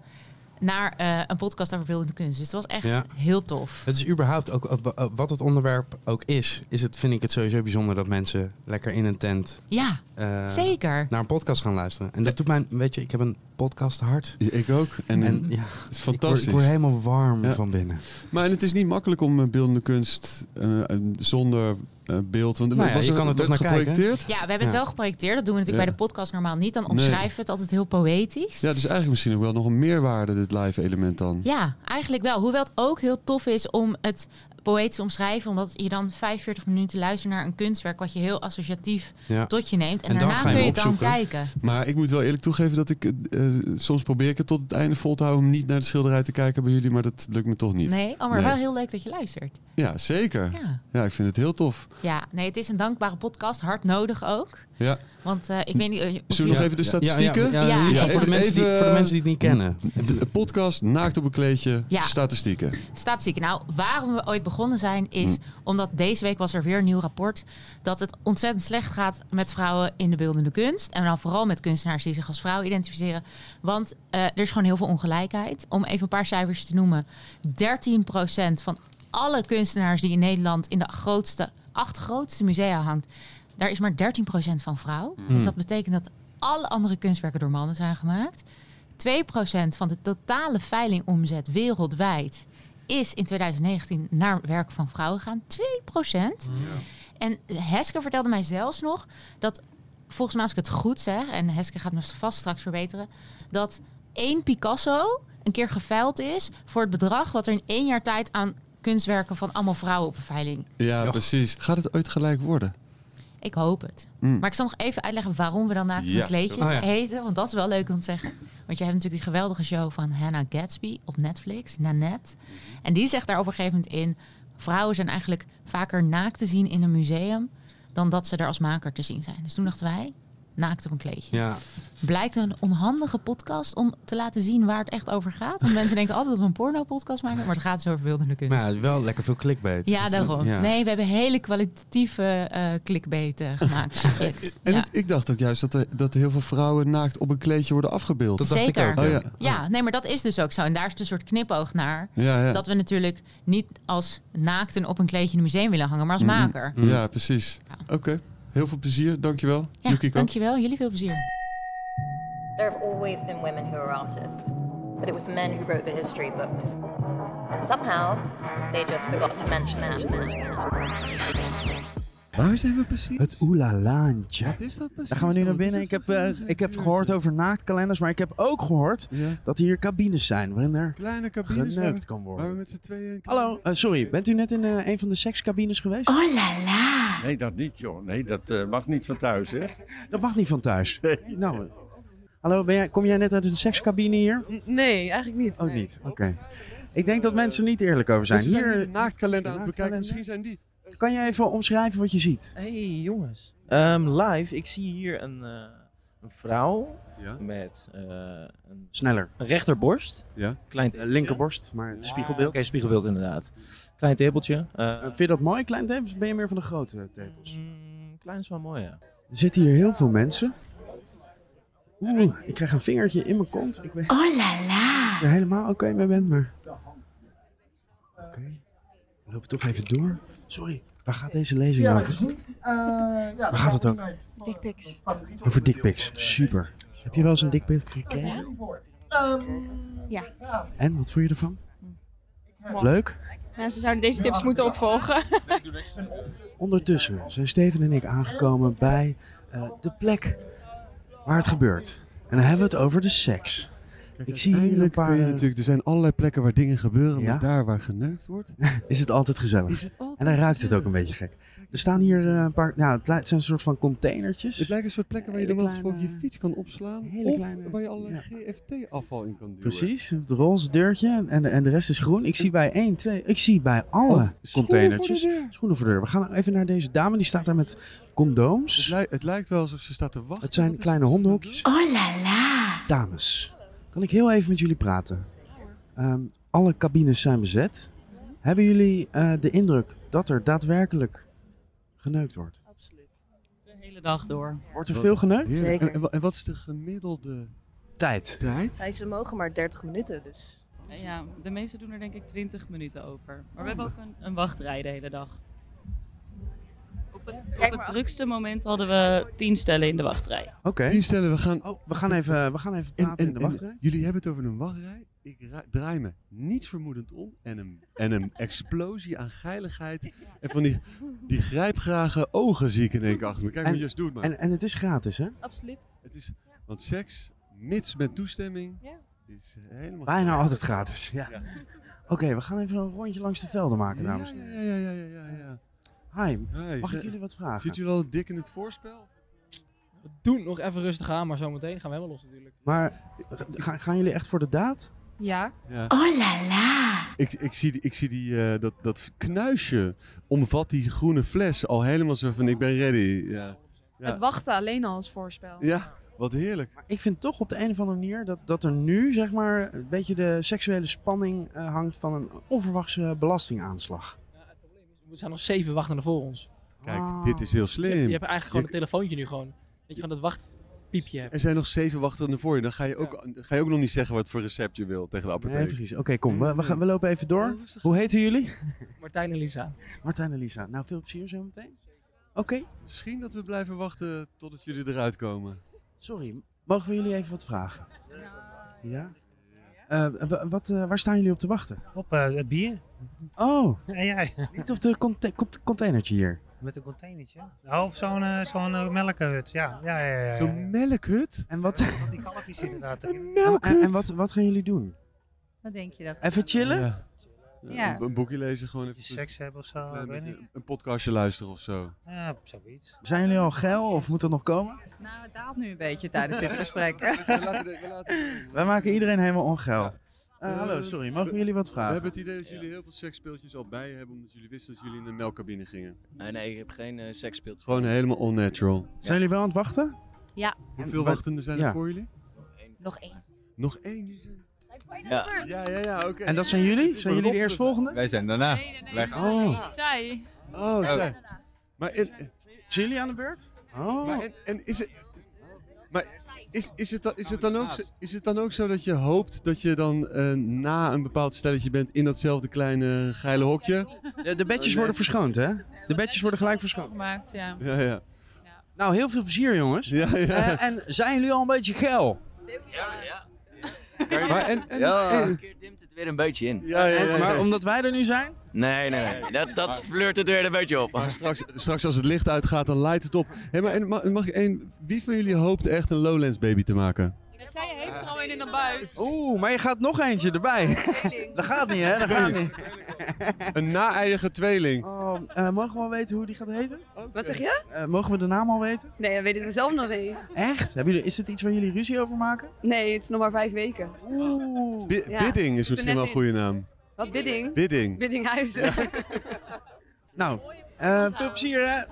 Speaker 20: naar eh, een podcast over beeldende kunst. Dus het was echt
Speaker 1: Ja.
Speaker 20: heel tof.
Speaker 1: Het is überhaupt ook eh, wat het onderwerp ook is. Is het vind ik het sowieso bijzonder dat mensen lekker in een tent.
Speaker 20: Ja,
Speaker 1: eh,
Speaker 20: zeker.
Speaker 1: Naar een podcast gaan luisteren. En dat doet mij, weet je, ik heb een podcast hart.
Speaker 2: Ik ook. En,
Speaker 1: ja,
Speaker 2: het is
Speaker 1: Ik word,
Speaker 2: fantastisch.
Speaker 1: ik word helemaal warm
Speaker 2: Ja.
Speaker 1: van binnen.
Speaker 2: Maar het is niet makkelijk om eh, beeldende kunst eh, eh, zonder eh, beeld. Want er
Speaker 1: Nou ja, je kan er toch
Speaker 2: werd
Speaker 1: naar kijken, hè?
Speaker 2: geprojecteerd.
Speaker 20: Ja, we hebben het wel geprojecteerd. Dat doen we natuurlijk
Speaker 2: Ja.
Speaker 20: bij de podcast normaal niet. Dan
Speaker 2: Nee.
Speaker 20: omschrijven we het altijd heel poëtisch.
Speaker 2: Ja, dus eigenlijk misschien ook wel nog een meerwaarde, dit live element dan.
Speaker 20: Ja, eigenlijk wel. Hoewel het ook heel tof is om het poëtisch te omschrijven. Omdat je dan 45 minuten luistert naar een kunstwerk wat je heel associatief
Speaker 2: Ja.
Speaker 20: tot je neemt. En,
Speaker 2: En dan
Speaker 20: daarna
Speaker 2: ga je
Speaker 20: kun je
Speaker 2: hem
Speaker 20: het dan
Speaker 2: opzoeken.
Speaker 20: kijken.
Speaker 2: Maar ik moet wel eerlijk toegeven dat ik... eh, eh, soms probeer ik het tot het einde vol te houden om niet naar de schilderij te kijken bij jullie. Maar dat lukt me toch niet.
Speaker 20: Nee, oh, maar wel heel leuk dat je luistert.
Speaker 2: Ja, zeker.
Speaker 20: Ja.
Speaker 2: Ja. ik vind het heel tof.
Speaker 20: Ja, nee, het is een dankbare podcast. Hard nodig ook.
Speaker 2: Ja.
Speaker 20: Want eh, ik weet niet... eh, of
Speaker 2: Zullen we nog
Speaker 1: Ja,
Speaker 2: even de
Speaker 1: ja,
Speaker 2: statistieken?
Speaker 1: ja, ja, ja, ja, voor de mensen die- voor de mensen die het niet kennen.
Speaker 2: eh, De podcast Naakt op een kleedje,
Speaker 20: Ja.
Speaker 2: statistieken.
Speaker 20: Statistiek. Nou, waarom we ooit begonnen zijn is omdat deze week was er weer een nieuw rapport dat het ontzettend slecht gaat met vrouwen in de beeldende kunst. En dan vooral met kunstenaars die zich als vrouw identificeren. Want eh, er is gewoon heel veel ongelijkheid. Om even een paar cijfers te noemen. 13% van alle kunstenaars die in Nederland in de grootste, acht grootste musea hangt, daar is maar 13% van vrouw.
Speaker 10: Hmm.
Speaker 20: Dus dat betekent dat alle andere kunstwerken door mannen zijn gemaakt. 2% van de totale veilingomzet wereldwijd is in 2019 naar werk van vrouwen gegaan. 2%. En Heske vertelde mij zelfs nog dat, volgens mij als ik het goed zeg, en Heske gaat me vast straks verbeteren, dat één Picasso een keer geveild is voor het bedrag wat er in één jaar tijd aan kunstwerken van allemaal vrouwen op een veiling.
Speaker 2: Ja, precies. Gaat het ooit gelijk worden?
Speaker 20: Ik hoop het.
Speaker 2: Mm.
Speaker 20: Maar ik zal nog even uitleggen waarom we dan naakt
Speaker 2: Ja.
Speaker 20: een kleedje
Speaker 2: Oh ja.
Speaker 20: heten. Want dat is wel leuk om te zeggen. Want je hebt natuurlijk die geweldige show van Hannah Gatsby op Netflix, Nanette. En die zegt daar op een gegeven moment in... vrouwen zijn eigenlijk vaker naakt te zien in een museum... dan dat ze er als maker te zien zijn. Dus toen dachten wij, naakt op een kleedje.
Speaker 1: Ja.
Speaker 20: Blijkt een onhandige podcast om te laten zien waar het echt over gaat. Want mensen denken altijd dat we een porno-podcast maken... maar het gaat dus over beeldende kunst.
Speaker 1: Maar ja, wel lekker veel clickbait.
Speaker 20: Ja,
Speaker 1: Dat is-
Speaker 20: daarom.
Speaker 1: ja.
Speaker 20: Nee, we hebben hele kwalitatieve eh clickbait eh, gemaakt. eigenlijk.
Speaker 2: En
Speaker 20: Ja.
Speaker 2: ik, ik dacht ook juist dat er, dat er heel veel vrouwen naakt op een kleedje worden afgebeeld.
Speaker 20: Zeker.
Speaker 2: Oh,
Speaker 20: ja.
Speaker 2: ja.
Speaker 20: nee, maar dat is dus ook zo. En daar is het een soort knipoog naar.
Speaker 2: Ja, ja.
Speaker 20: Dat we natuurlijk niet als naakten op een kleedje in een museum willen hangen, maar als
Speaker 2: Mm,
Speaker 20: maker.
Speaker 2: mm, Ja, precies. Oké, heel veel plezier. Dankjewel,
Speaker 20: Ja,
Speaker 2: Yukiko.
Speaker 20: dankjewel. Jullie veel plezier.
Speaker 21: There have always been women who are artists, but it was men who wrote the history books. And somehow, they just forgot to mention that.
Speaker 1: Waar zijn we precies? Het Oelalaantje.
Speaker 21: Wat is dat precies?
Speaker 1: Daar gaan we nu naar
Speaker 21: Wat is
Speaker 1: binnen. Ik
Speaker 21: dat
Speaker 1: heb,
Speaker 21: voor
Speaker 1: eh,
Speaker 21: een
Speaker 1: ik heb gehoord over naaktkalenders, maar ik heb ook gehoord dat hier cabines zijn waarin er
Speaker 2: Kleine
Speaker 1: cabines
Speaker 2: waar
Speaker 1: geneukt
Speaker 2: we-
Speaker 1: kan
Speaker 2: Waar we
Speaker 1: worden.
Speaker 2: met z'n tweeën...
Speaker 1: Hallo, eh, sorry. Bent u net in eh, een van de sekscabines geweest? Oh la la.
Speaker 22: Nee, dat niet, joh. Nee, dat eh, mag niet van thuis, hè?
Speaker 1: Dat mag niet van thuis. Nou, eh, hallo, ben jij, kom jij net uit een sekscabine hier?
Speaker 23: Nee, eigenlijk niet.
Speaker 1: Ook niet, oké. Ik denk dat mensen niet eerlijk over zijn.
Speaker 2: Mensen Dus zijn
Speaker 1: Hier,
Speaker 2: hier de naaktkalender aan het bekijken. Misschien zijn die...
Speaker 1: Kan je even omschrijven wat je ziet?
Speaker 4: hey, jongens. Ehm, live, ik zie hier een, eh, een vrouw met eh, een,
Speaker 1: Sneller.
Speaker 4: een rechterborst.
Speaker 1: Ja.
Speaker 4: Klein Ah.
Speaker 1: Eh, linkerborst, maar het spiegelbeeld.
Speaker 4: Oké, spiegelbeeld inderdaad. Klein tepeltje. eh,
Speaker 1: Vind je dat mooi, klein tepels? Of ben je meer van de grote tepels?
Speaker 4: Mm, klein is wel mooi, ja.
Speaker 1: Er zitten hier heel veel mensen. Oeh, ik krijg een vingertje in mijn kont. Ik weet... Oh la la! Ik ben helemaal oké mee bent, maar... Oké. We lopen toch even door. Sorry, waar gaat deze lezing over? Waar gaat het ook?
Speaker 23: Dickpics.
Speaker 1: Over dickpics. Super. Heb je wel eens een dickpic gekregen?
Speaker 23: ja.
Speaker 1: En, wat vond je ervan? Leuk?
Speaker 23: Nou, ze zouden deze tips moeten opvolgen.
Speaker 1: Ondertussen zijn Steven en ik aangekomen bij eh, de plek waar het gebeurt. En dan hebben we het over de seks. ik zie hier een
Speaker 2: Uiteindelijk
Speaker 1: paar...
Speaker 2: kun je
Speaker 1: eh,
Speaker 2: natuurlijk, er zijn allerlei plekken waar dingen gebeuren,
Speaker 1: Ja?
Speaker 2: maar daar waar geneukt wordt.
Speaker 1: is het altijd gezellig. en dan ruikt het ook een beetje gek. Er staan hier eh, een paar... Nou, het li- het zijn een soort van containertjes.
Speaker 2: Het lijken een soort plekken waar je
Speaker 1: Hele
Speaker 2: normaal
Speaker 1: kleine-
Speaker 2: gesproken je fiets kan opslaan.
Speaker 1: hele
Speaker 2: of
Speaker 1: kleine-
Speaker 2: waar je allerlei GFT-afval in kan duwen.
Speaker 1: Precies, het roze deurtje en de, en de rest is groen. Ik zie bij 1, 2, ik zie bij
Speaker 2: Oh,
Speaker 1: alle containertjes
Speaker 2: voor de deur.
Speaker 1: schoenen voor de deur. We gaan even naar deze dame, die staat daar met condooms. Het,
Speaker 2: lijkt wel alsof ze staat te wachten.
Speaker 1: Het zijn kleine hondenhokjes. Oh la la! Dames, kan ik heel even met jullie praten? Ehm, alle cabines zijn bezet. Hebben jullie eh, de indruk dat er daadwerkelijk geneukt wordt?
Speaker 19: De hele dag door.
Speaker 1: Wordt er veel geneukt?
Speaker 2: Heerlijk.
Speaker 1: Zeker.
Speaker 2: En, en, en wat is de gemiddelde
Speaker 1: Tijd.
Speaker 2: tijd?
Speaker 19: Zij ze mogen maar 30 minuten, dus... Ja, de meesten doen er denk ik 20 minuten over. Maar we hebben ook een, een wachtrij de hele dag. Op het, op het drukste moment hadden we 10 stellen in de wachtrij.
Speaker 1: Oké.
Speaker 2: Die stellen we gaan.
Speaker 1: Oh, we gaan even, we gaan even
Speaker 2: En-
Speaker 1: praten
Speaker 2: en-
Speaker 1: in de
Speaker 2: en
Speaker 1: wachtrij.
Speaker 2: jullie hebben het over een wachtrij. Ik ra- draai me niets vermoedend om en een, en een explosie aan geiligheid. En van die, die grijpgrage ogen zie ik in één keer achter me. Kijk
Speaker 1: En-
Speaker 2: maar, just doe het maar.
Speaker 1: En, en het is gratis, hè?
Speaker 19: Absoluut.
Speaker 2: Het is, want seks, mits met toestemming, is eh, helemaal
Speaker 1: Bijna
Speaker 2: gratis.
Speaker 1: altijd gratis, ja. Oké, we gaan even een rondje langs de velden maken, dames. en heren.
Speaker 2: Ja, ja, ja, ja, ja. ja.
Speaker 1: Hi,
Speaker 2: Hey,
Speaker 1: mag
Speaker 2: ze-
Speaker 1: ik jullie wat vragen?
Speaker 2: Zitten jullie al dik in het voorspel?
Speaker 19: We doen nog even rustig aan, maar zometeen gaan we helemaal los natuurlijk.
Speaker 1: Maar eh, ga- gaan jullie echt voor de daad?
Speaker 19: Ja.
Speaker 2: Ja.
Speaker 19: Oh la la!
Speaker 2: Ik, ik zie, die- ik zie die, eh, dat, dat knuisje omvat die groene fles al helemaal zo van ik ben ready. Ja. Ja.
Speaker 24: Het wachten alleen al als voorspel.
Speaker 2: Ja, wat heerlijk.
Speaker 1: Maar ik vind toch op de een of andere manier dat, dat er nu, zeg maar, een beetje de seksuele spanning eh, hangt van een onverwachte belastingaanslag.
Speaker 19: Er zijn nog zeven wachtenden voor ons.
Speaker 2: Kijk,
Speaker 1: Oh.
Speaker 2: dit is heel slim.
Speaker 19: Je, je hebt eigenlijk gewoon
Speaker 2: Je-
Speaker 19: een telefoontje nu gewoon. Dat je gewoon dat wachtpiepje hebt.
Speaker 2: Er zijn nog zeven wachtenden voor je. Dan ga je, ook, ga je ook nog niet zeggen wat voor recept je wil tegen de apotheek. Hm?
Speaker 1: Nee, precies. Oké, kom, we, we, gaan, we lopen even
Speaker 2: Oh,
Speaker 1: door. Hoe heten jullie?
Speaker 19: Martijn en Lisa.
Speaker 1: Martijn en Lisa. Nou, veel plezier zo meteen. Oké.
Speaker 2: Misschien dat we blijven wachten totdat jullie eruit komen.
Speaker 1: Sorry, mogen we jullie even wat vragen? Ja? Eh, wa- wat, eh, waar staan jullie op te wachten?
Speaker 25: Op eh, het bier.
Speaker 1: Oh,
Speaker 25: Ja, ja, ja.
Speaker 1: niet op de conte- cont- containertje hier.
Speaker 25: Met een containertje. Oh, op zo'n eh, zo'n eh, melkhut. Ja, ja, ja. ja, ja.
Speaker 1: Zo'n
Speaker 2: melkhut? En wat...
Speaker 25: Van die kalfjes zitten daar. te-
Speaker 1: En, en wat, wat gaan jullie doen?
Speaker 26: Wat denk je dat?
Speaker 1: Even chillen?
Speaker 2: Ja.
Speaker 25: Ja.
Speaker 2: Een, een boekje lezen, gewoon even.
Speaker 25: Seks hebben of zo, ik
Speaker 2: Klein
Speaker 25: weet
Speaker 2: beetje-
Speaker 25: niet.
Speaker 2: Een podcastje luisteren of zo.
Speaker 25: Ja, zoiets.
Speaker 1: Zijn jullie al geil of moet dat nog komen?
Speaker 26: Nou, het daalt nu een beetje tijdens dit gesprek.
Speaker 1: Wij maken iedereen helemaal ongeil. Eh, hallo, sorry, mogen we jullie wat
Speaker 2: We
Speaker 1: vragen?
Speaker 2: hebben het idee dat jullie heel veel seksspeeltjes al bij je hebben, omdat jullie wisten dat jullie in de melkcabine gingen.
Speaker 27: Nee, nee, ik heb geen eh seksspeeltje.
Speaker 2: Gewoon helemaal unnatural.
Speaker 1: Zijn jullie wel aan het wachten?
Speaker 26: Ja.
Speaker 2: Hoeveel wachtenden zijn er
Speaker 1: Ja.
Speaker 2: voor jullie?
Speaker 26: Nog één.
Speaker 2: Nog één. jullie zijn- Ja, ja, ja, oké.
Speaker 1: En dat zijn jullie? Zijn jullie de eerstvolgende?
Speaker 13: Wij zijn daarna. Wij gaan-
Speaker 1: Oh,
Speaker 26: Zij.
Speaker 2: Oh, zij. Maar en,
Speaker 1: zijn jullie aan de beurt? Oh.
Speaker 2: Maar en, en is het... Maar is, is, het, dan- is, het dan ook zo, is het dan ook zo dat je hoopt dat je dan eh, na een bepaald stelletje bent in datzelfde kleine geile hokje?
Speaker 1: De, de bedjes worden verschoond, hè? De bedjes worden gelijk verschoond.
Speaker 26: Gemaakt, ja.
Speaker 2: Oh, Ja, ja.
Speaker 1: Nou, heel veel plezier, jongens.
Speaker 2: Ja, ja.
Speaker 1: Eh, en zijn jullie al een beetje geil?
Speaker 27: Ja, ja.
Speaker 1: Maar en- en-
Speaker 27: ja,
Speaker 1: en-
Speaker 27: een keer dimt het weer een beetje in.
Speaker 1: En- maar omdat wij er nu zijn?
Speaker 27: Nee, nee, nee. Dat, dat flirt het weer een beetje op.
Speaker 2: Maar straks, straks als het licht uitgaat, dan light het op. Hé, maar en, ma- mag ik één... Wie van jullie hoopt echt een Lowlands baby te maken?
Speaker 19: Zij heeft er al een in de buik.
Speaker 1: Oeh, maar je gaat nog eentje erbij. dat gaat niet, hè? Dat gaat niet.
Speaker 2: Een na-eiige tweeling.
Speaker 1: Oh, eh, mogen we al weten hoe die gaat heten?
Speaker 26: Wat zeg je?
Speaker 1: Eh, mogen we de naam al weten?
Speaker 26: Nee, dat weten we zelf nog eens.
Speaker 1: Echt? Hebben jullie, is het iets waar jullie ruzie over maken?
Speaker 26: Nee, het is nog maar vijf weken.
Speaker 1: Oeh.
Speaker 2: Bi-
Speaker 26: Ja.
Speaker 2: Bidding
Speaker 26: Ik
Speaker 2: is
Speaker 26: ben
Speaker 2: misschien
Speaker 26: net
Speaker 2: wel een
Speaker 26: in-
Speaker 2: goede naam.
Speaker 26: Wat, bidding?
Speaker 2: Bidding.
Speaker 26: Biddinghuizen.
Speaker 1: Nou,
Speaker 2: Eh, veel plezier, hè?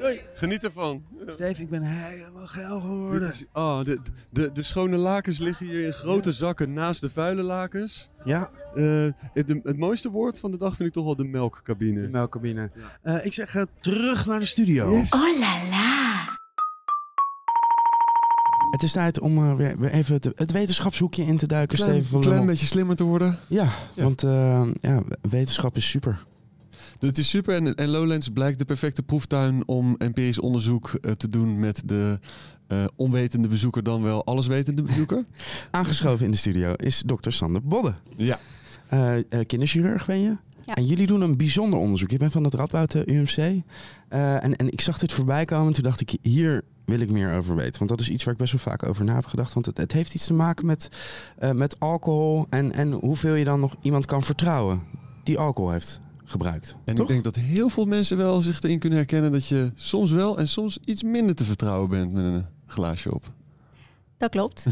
Speaker 2: Doei. Geniet ervan.
Speaker 14: Steve, ik ben helemaal geil geworden.
Speaker 2: Dit is- oh, de, de, de schone lakens liggen hier in grote zakken naast de vuile lakens. Eh,
Speaker 1: Ja.
Speaker 2: het, de- het mooiste woord van de dag vind ik toch wel de melkcabine. De
Speaker 1: melkcabine. Eh, ik zeg eh, terug naar de studio.
Speaker 10: la la.
Speaker 1: Het is tijd om eh, weer, weer even het, het wetenschapshoekje in te duiken,
Speaker 2: Klein-
Speaker 1: Steven van
Speaker 2: klein
Speaker 1: Lummel.
Speaker 2: beetje slimmer te worden.
Speaker 1: Ja, want eh, ja, wetenschap is super.
Speaker 2: Het is super en, en Lowlands blijkt de perfecte proeftuin om empirisch onderzoek eh, te doen met de eh, onwetende bezoeker dan wel alleswetende bezoeker.
Speaker 1: Aangeschoven in de studio is dokter Sander Bodde. Eh,
Speaker 2: Ja.
Speaker 1: kinderchirurg ben je? En jullie doen een bijzonder onderzoek. Je bent van het Radboud eh, UMC. Eh, en, en ik zag dit voorbij komen. Toen dacht ik, hier wil ik meer over weten. Want dat is iets waar ik best wel vaak over na heb gedacht. Want het, het heeft iets te maken met, eh, met alcohol. En, en hoeveel je dan nog iemand kan vertrouwen die alcohol heeft gebruikt.
Speaker 2: En ik denk dat heel veel mensen wel zich erin kunnen herkennen dat je soms wel en soms iets minder te vertrouwen bent met een glaasje op.
Speaker 5: Dat klopt.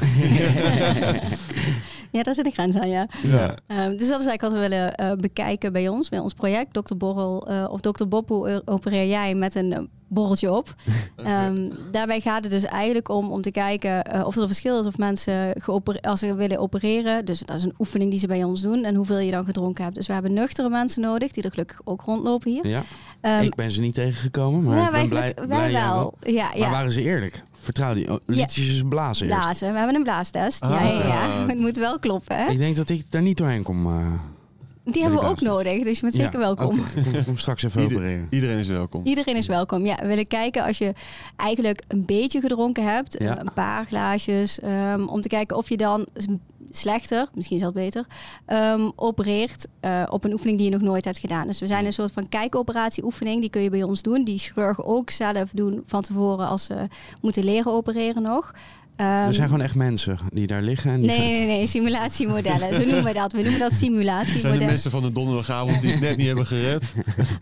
Speaker 5: ja, daar zit een grens aan, ja.
Speaker 2: Ja.
Speaker 5: Ehm, dus dat is eigenlijk wat we willen eh, bekijken bij ons, bij ons project. Dr. Borrel eh, of Dr. Bob, hoe opereer jij met een eh, borreltje op? Ehm, daarbij gaat het dus eigenlijk om, om te kijken eh, of er een verschil is of mensen geopere- als ze willen opereren. Dus dat is een oefening die ze bij ons doen en hoeveel je dan gedronken hebt. Dus we hebben nuchtere mensen nodig, die er gelukkig ook rondlopen hier.
Speaker 1: Ja.
Speaker 5: Ehm,
Speaker 1: ik ben ze niet tegengekomen, maar
Speaker 5: Ja,
Speaker 1: ik
Speaker 5: wij
Speaker 1: ben blij,
Speaker 5: geluk- wij
Speaker 1: blij jij
Speaker 5: wel. Ja,
Speaker 1: maar
Speaker 5: ja.
Speaker 1: waren ze eerlijk? Vertrouw die. oh, Liet je ze blazen eerst?
Speaker 5: Blazen, we hebben een blaastest. Ja,
Speaker 1: Ah.
Speaker 5: ja, ja. Het moet wel kloppen. Hè?
Speaker 1: Ik denk dat ik daar niet doorheen kom. eh, bij
Speaker 5: Die hebben we ook
Speaker 1: blazen.
Speaker 5: nodig, dus je bent
Speaker 1: Ja,
Speaker 5: zeker welkom.
Speaker 1: oké. Ik kom straks even
Speaker 2: Ieder-
Speaker 1: opereren.
Speaker 2: Iedereen is welkom.
Speaker 5: Iedereen is welkom. Ja, we willen kijken als je eigenlijk een beetje gedronken hebt,
Speaker 2: Ja.
Speaker 5: een paar glaasjes, ehm, om te kijken of je dan s- slechter, misschien zelfs beter, ehm, opereert eh, op een oefening die je nog nooit hebt gedaan. Dus we zijn een soort van kijkoperatieoefening, die kun je bij ons doen, die chirurgen ook zelf doen van tevoren als ze moeten leren opereren nog. Ehm,
Speaker 1: er zijn gewoon echt mensen die daar liggen. En die
Speaker 5: Nee, nee, nee, simulatiemodellen. Zo noemen we dat. We noemen dat
Speaker 2: Zijn de
Speaker 5: simulatiemodellen.
Speaker 2: mensen van de donderdagavond die het net niet hebben gered?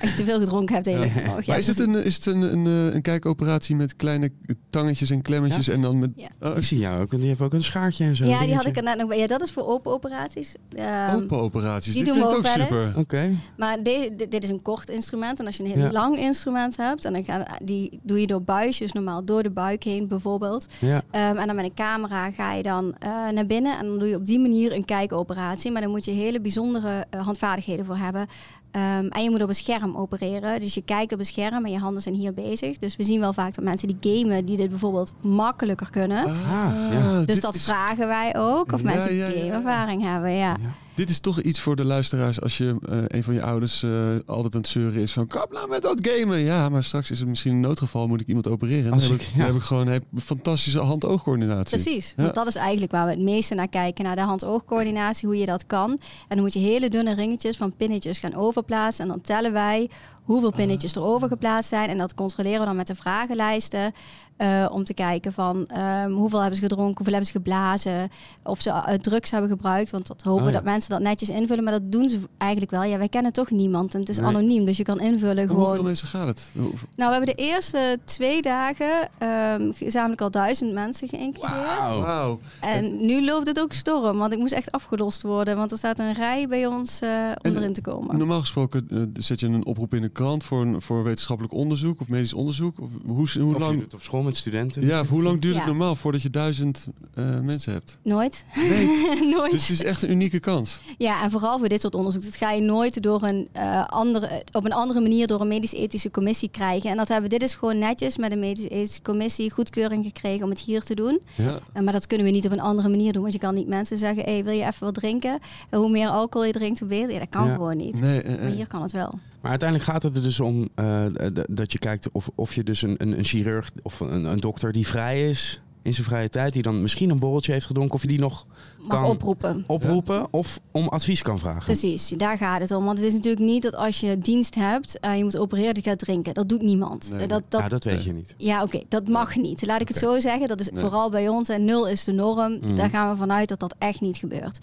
Speaker 5: Als je te veel gedronken hebt de hele dag. Ja,
Speaker 2: maar is het, een, is het een, een, eh, een kijkoperatie met kleine tangetjes en klemmetjes en dan met... Oh,
Speaker 1: Ik zie jou ook, en die heeft ook een schaartje en zo.
Speaker 5: Ja, die had ik er net nog bij. Ja, dat is voor open operaties. Ehm,
Speaker 2: Open operaties,
Speaker 5: die
Speaker 2: dit
Speaker 5: doen we
Speaker 2: klinkt ook,
Speaker 5: ook wel
Speaker 2: super.
Speaker 5: eens.
Speaker 1: Oké.
Speaker 5: Maar de- dit, dit is een kort instrument. En als je een heel
Speaker 2: Ja.
Speaker 5: lang instrument hebt, en dan gaan, die doe je door buisjes normaal, door de buik heen bijvoorbeeld.
Speaker 1: Ja.
Speaker 28: Eh,
Speaker 5: Ehm, en dan met een camera ga je dan eh, naar binnen en dan doe je op die manier een kijkoperatie. Maar dan moet je hele bijzondere eh, handvaardigheden voor hebben. Ehm, en je moet op een scherm opereren. Dus je kijkt op een scherm en je handen zijn hier bezig. Dus we zien wel vaak dat mensen die gamen, die dit bijvoorbeeld makkelijker kunnen.
Speaker 2: ja.
Speaker 5: Dus
Speaker 2: Ah, Dit
Speaker 5: dat
Speaker 2: is-
Speaker 5: vragen wij ook. Of
Speaker 2: Ja,
Speaker 5: mensen
Speaker 2: ja, ja, ja.
Speaker 5: die gameervaring hebben, ja.
Speaker 2: Dit is toch iets voor de luisteraars als je eh, een van je ouders eh, altijd aan het zeuren is van kap nou met dat gamen. Ja, maar straks is het misschien een noodgeval, moet ik iemand opereren. Dan,
Speaker 1: Als
Speaker 2: heb, ik,
Speaker 1: ik-
Speaker 2: dan heb ik gewoon heb ik fantastische hand-oogcoördinatie.
Speaker 5: Precies,
Speaker 2: Ja.
Speaker 5: want dat is eigenlijk waar we het meeste naar kijken. Naar de hand-oogcoördinatie, hoe je dat kan. En dan moet je hele dunne ringetjes van pinnetjes gaan overplaatsen. En dan tellen wij hoeveel pinnetjes er overgeplaatst zijn. En dat controleren we dan met de vragenlijsten. eh, om te kijken van ehm, hoeveel hebben ze gedronken, hoeveel hebben ze geblazen. Of ze eh, drugs hebben gebruikt. Want dat hopen
Speaker 6: Oh,
Speaker 2: Ah,
Speaker 5: we
Speaker 6: ja.
Speaker 5: dat mensen dat netjes invullen. Maar dat doen ze eigenlijk wel. Ja, wij kennen toch niemand. En het is
Speaker 2: Nee.
Speaker 5: anoniem, dus je kan invullen
Speaker 2: Om
Speaker 5: gewoon.
Speaker 2: hoeveel mensen gaat het? Hoeveel-
Speaker 5: Nou, we hebben de eerste twee dagen ehm, gezamenlijk al duizend mensen geïncludeerd.
Speaker 2: Wauw.
Speaker 5: En nu loopt het ook storm, want ik moest echt afgelost worden. Want er staat een rij bij ons eh, om erin te komen.
Speaker 2: Normaal gesproken eh, zet je een oproep in de krant voor, een, voor wetenschappelijk onderzoek of medisch onderzoek. Of, hoe, hoe
Speaker 1: Of je
Speaker 2: lang,
Speaker 1: doet het op school met studenten.
Speaker 2: ja, of hoe lang duurt het
Speaker 5: Ja.
Speaker 2: normaal voordat je duizend eh, mensen hebt?
Speaker 5: Nooit.
Speaker 2: Dus
Speaker 5: nooit.
Speaker 2: het is echt een unieke kans.
Speaker 5: Ja, en vooral voor dit soort onderzoek. Dat ga je nooit door een, eh, andere, op een andere manier door een medisch-ethische commissie krijgen. En dat hebben we, dit is gewoon netjes met de medisch-ethische commissie goedkeuring gekregen om het hier te doen.
Speaker 2: Ja.
Speaker 5: Eh, Maar dat kunnen we niet op een andere manier doen. Want je kan niet mensen zeggen, hey, wil je even wat drinken? En hoe meer alcohol je drinkt, hoe beter. Ja, dat kan
Speaker 1: Ja.
Speaker 5: gewoon niet.
Speaker 1: Nee, eh, eh.
Speaker 5: Maar hier kan het wel.
Speaker 1: Maar uiteindelijk gaat het er dus om eh, d- dat je kijkt of, of je dus een, een, een chirurg of een, een dokter die vrij is in zijn vrije tijd, die dan misschien een borreltje heeft gedronken, of je die nog
Speaker 5: Mag
Speaker 1: kan
Speaker 5: oproepen. Dus,
Speaker 1: oproepen of om advies kan vragen.
Speaker 5: Precies, daar gaat het om. Want het is natuurlijk niet dat als je dienst hebt, eh, je moet opereren, dat je gaat drinken. Dat doet niemand.
Speaker 1: Nee,
Speaker 5: eh, dat, dat,
Speaker 1: ja, dat weet je niet.
Speaker 5: Ja, oké, dat mag niet. Laat ik het
Speaker 1: Oké.
Speaker 5: zo zeggen. Dat is
Speaker 1: Nee.
Speaker 5: vooral bij ons en nul is de norm.
Speaker 1: Mhm.
Speaker 5: Daar gaan we vanuit dat dat echt niet gebeurt.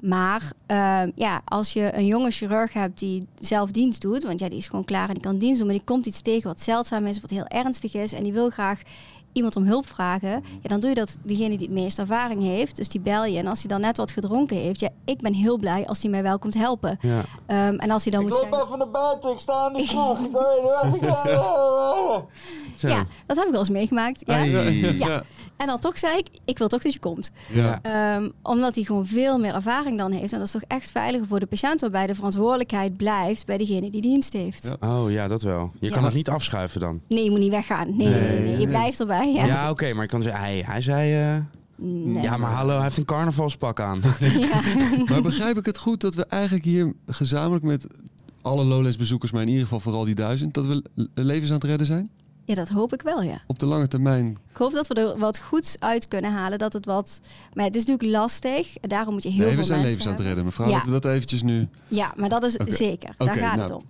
Speaker 5: Maar eh, ja, als je een jonge chirurg hebt die zelf dienst doet, want ja, die is gewoon klaar en die kan dienst doen, maar die komt iets tegen wat zeldzaam is, wat heel ernstig is en die wil graag iemand om hulp vragen,
Speaker 1: Mhm.
Speaker 5: ja, dan doe je dat diegene die het meest ervaring heeft. Dus die bel je. En als hij dan net wat gedronken heeft, ja, ik ben heel blij als hij mij wel komt helpen.
Speaker 8: Ja.
Speaker 5: Ehm, en als hij dan moet zeggen-
Speaker 8: ben van de buiten, ik sta aan de kroeg.
Speaker 2: Zo.
Speaker 5: Ja, dat heb ik wel eens meegemaakt. Ja.
Speaker 2: Ai.
Speaker 5: Ja. En dan toch zei ik, ik wil toch dat je komt.
Speaker 2: Ja.
Speaker 5: Ehm, omdat hij gewoon veel meer ervaring dan heeft. En dat is toch echt veiliger voor de patiënt, waarbij de verantwoordelijkheid blijft bij degene die dienst heeft.
Speaker 1: Oh ja, dat wel. Je kan
Speaker 5: Ja.
Speaker 1: het niet afschuiven dan.
Speaker 5: Nee, je moet niet weggaan. Nee, nee, nee, nee. je blijft erbij. Ja.
Speaker 1: Ja, oké, maar ik kan zeggen, hij, hij zei... eh,
Speaker 5: Nee.
Speaker 1: Ja, maar hallo, hij heeft een carnavalspak aan.
Speaker 2: Maar begrijp ik het goed dat we eigenlijk hier gezamenlijk met alle Lowlands bezoekers, maar in ieder geval vooral die duizend, dat we le- levens aan het redden zijn?
Speaker 5: Ja, dat hoop ik wel, ja.
Speaker 2: Op de lange termijn.
Speaker 5: Ik hoop dat we er wat goeds uit kunnen halen. Dat het wat... Maar het is natuurlijk lastig. en Daarom moet je heel
Speaker 2: nee, we
Speaker 5: veel
Speaker 2: zijn
Speaker 5: mensen
Speaker 2: levens aan het redden.
Speaker 5: hebben.
Speaker 2: Mevrouw,
Speaker 5: Ja.
Speaker 2: laten we dat eventjes nu.
Speaker 5: Ja, maar dat is
Speaker 2: Oké.
Speaker 5: zeker. Daar
Speaker 2: Oké,
Speaker 5: gaat
Speaker 2: nou.
Speaker 5: het om.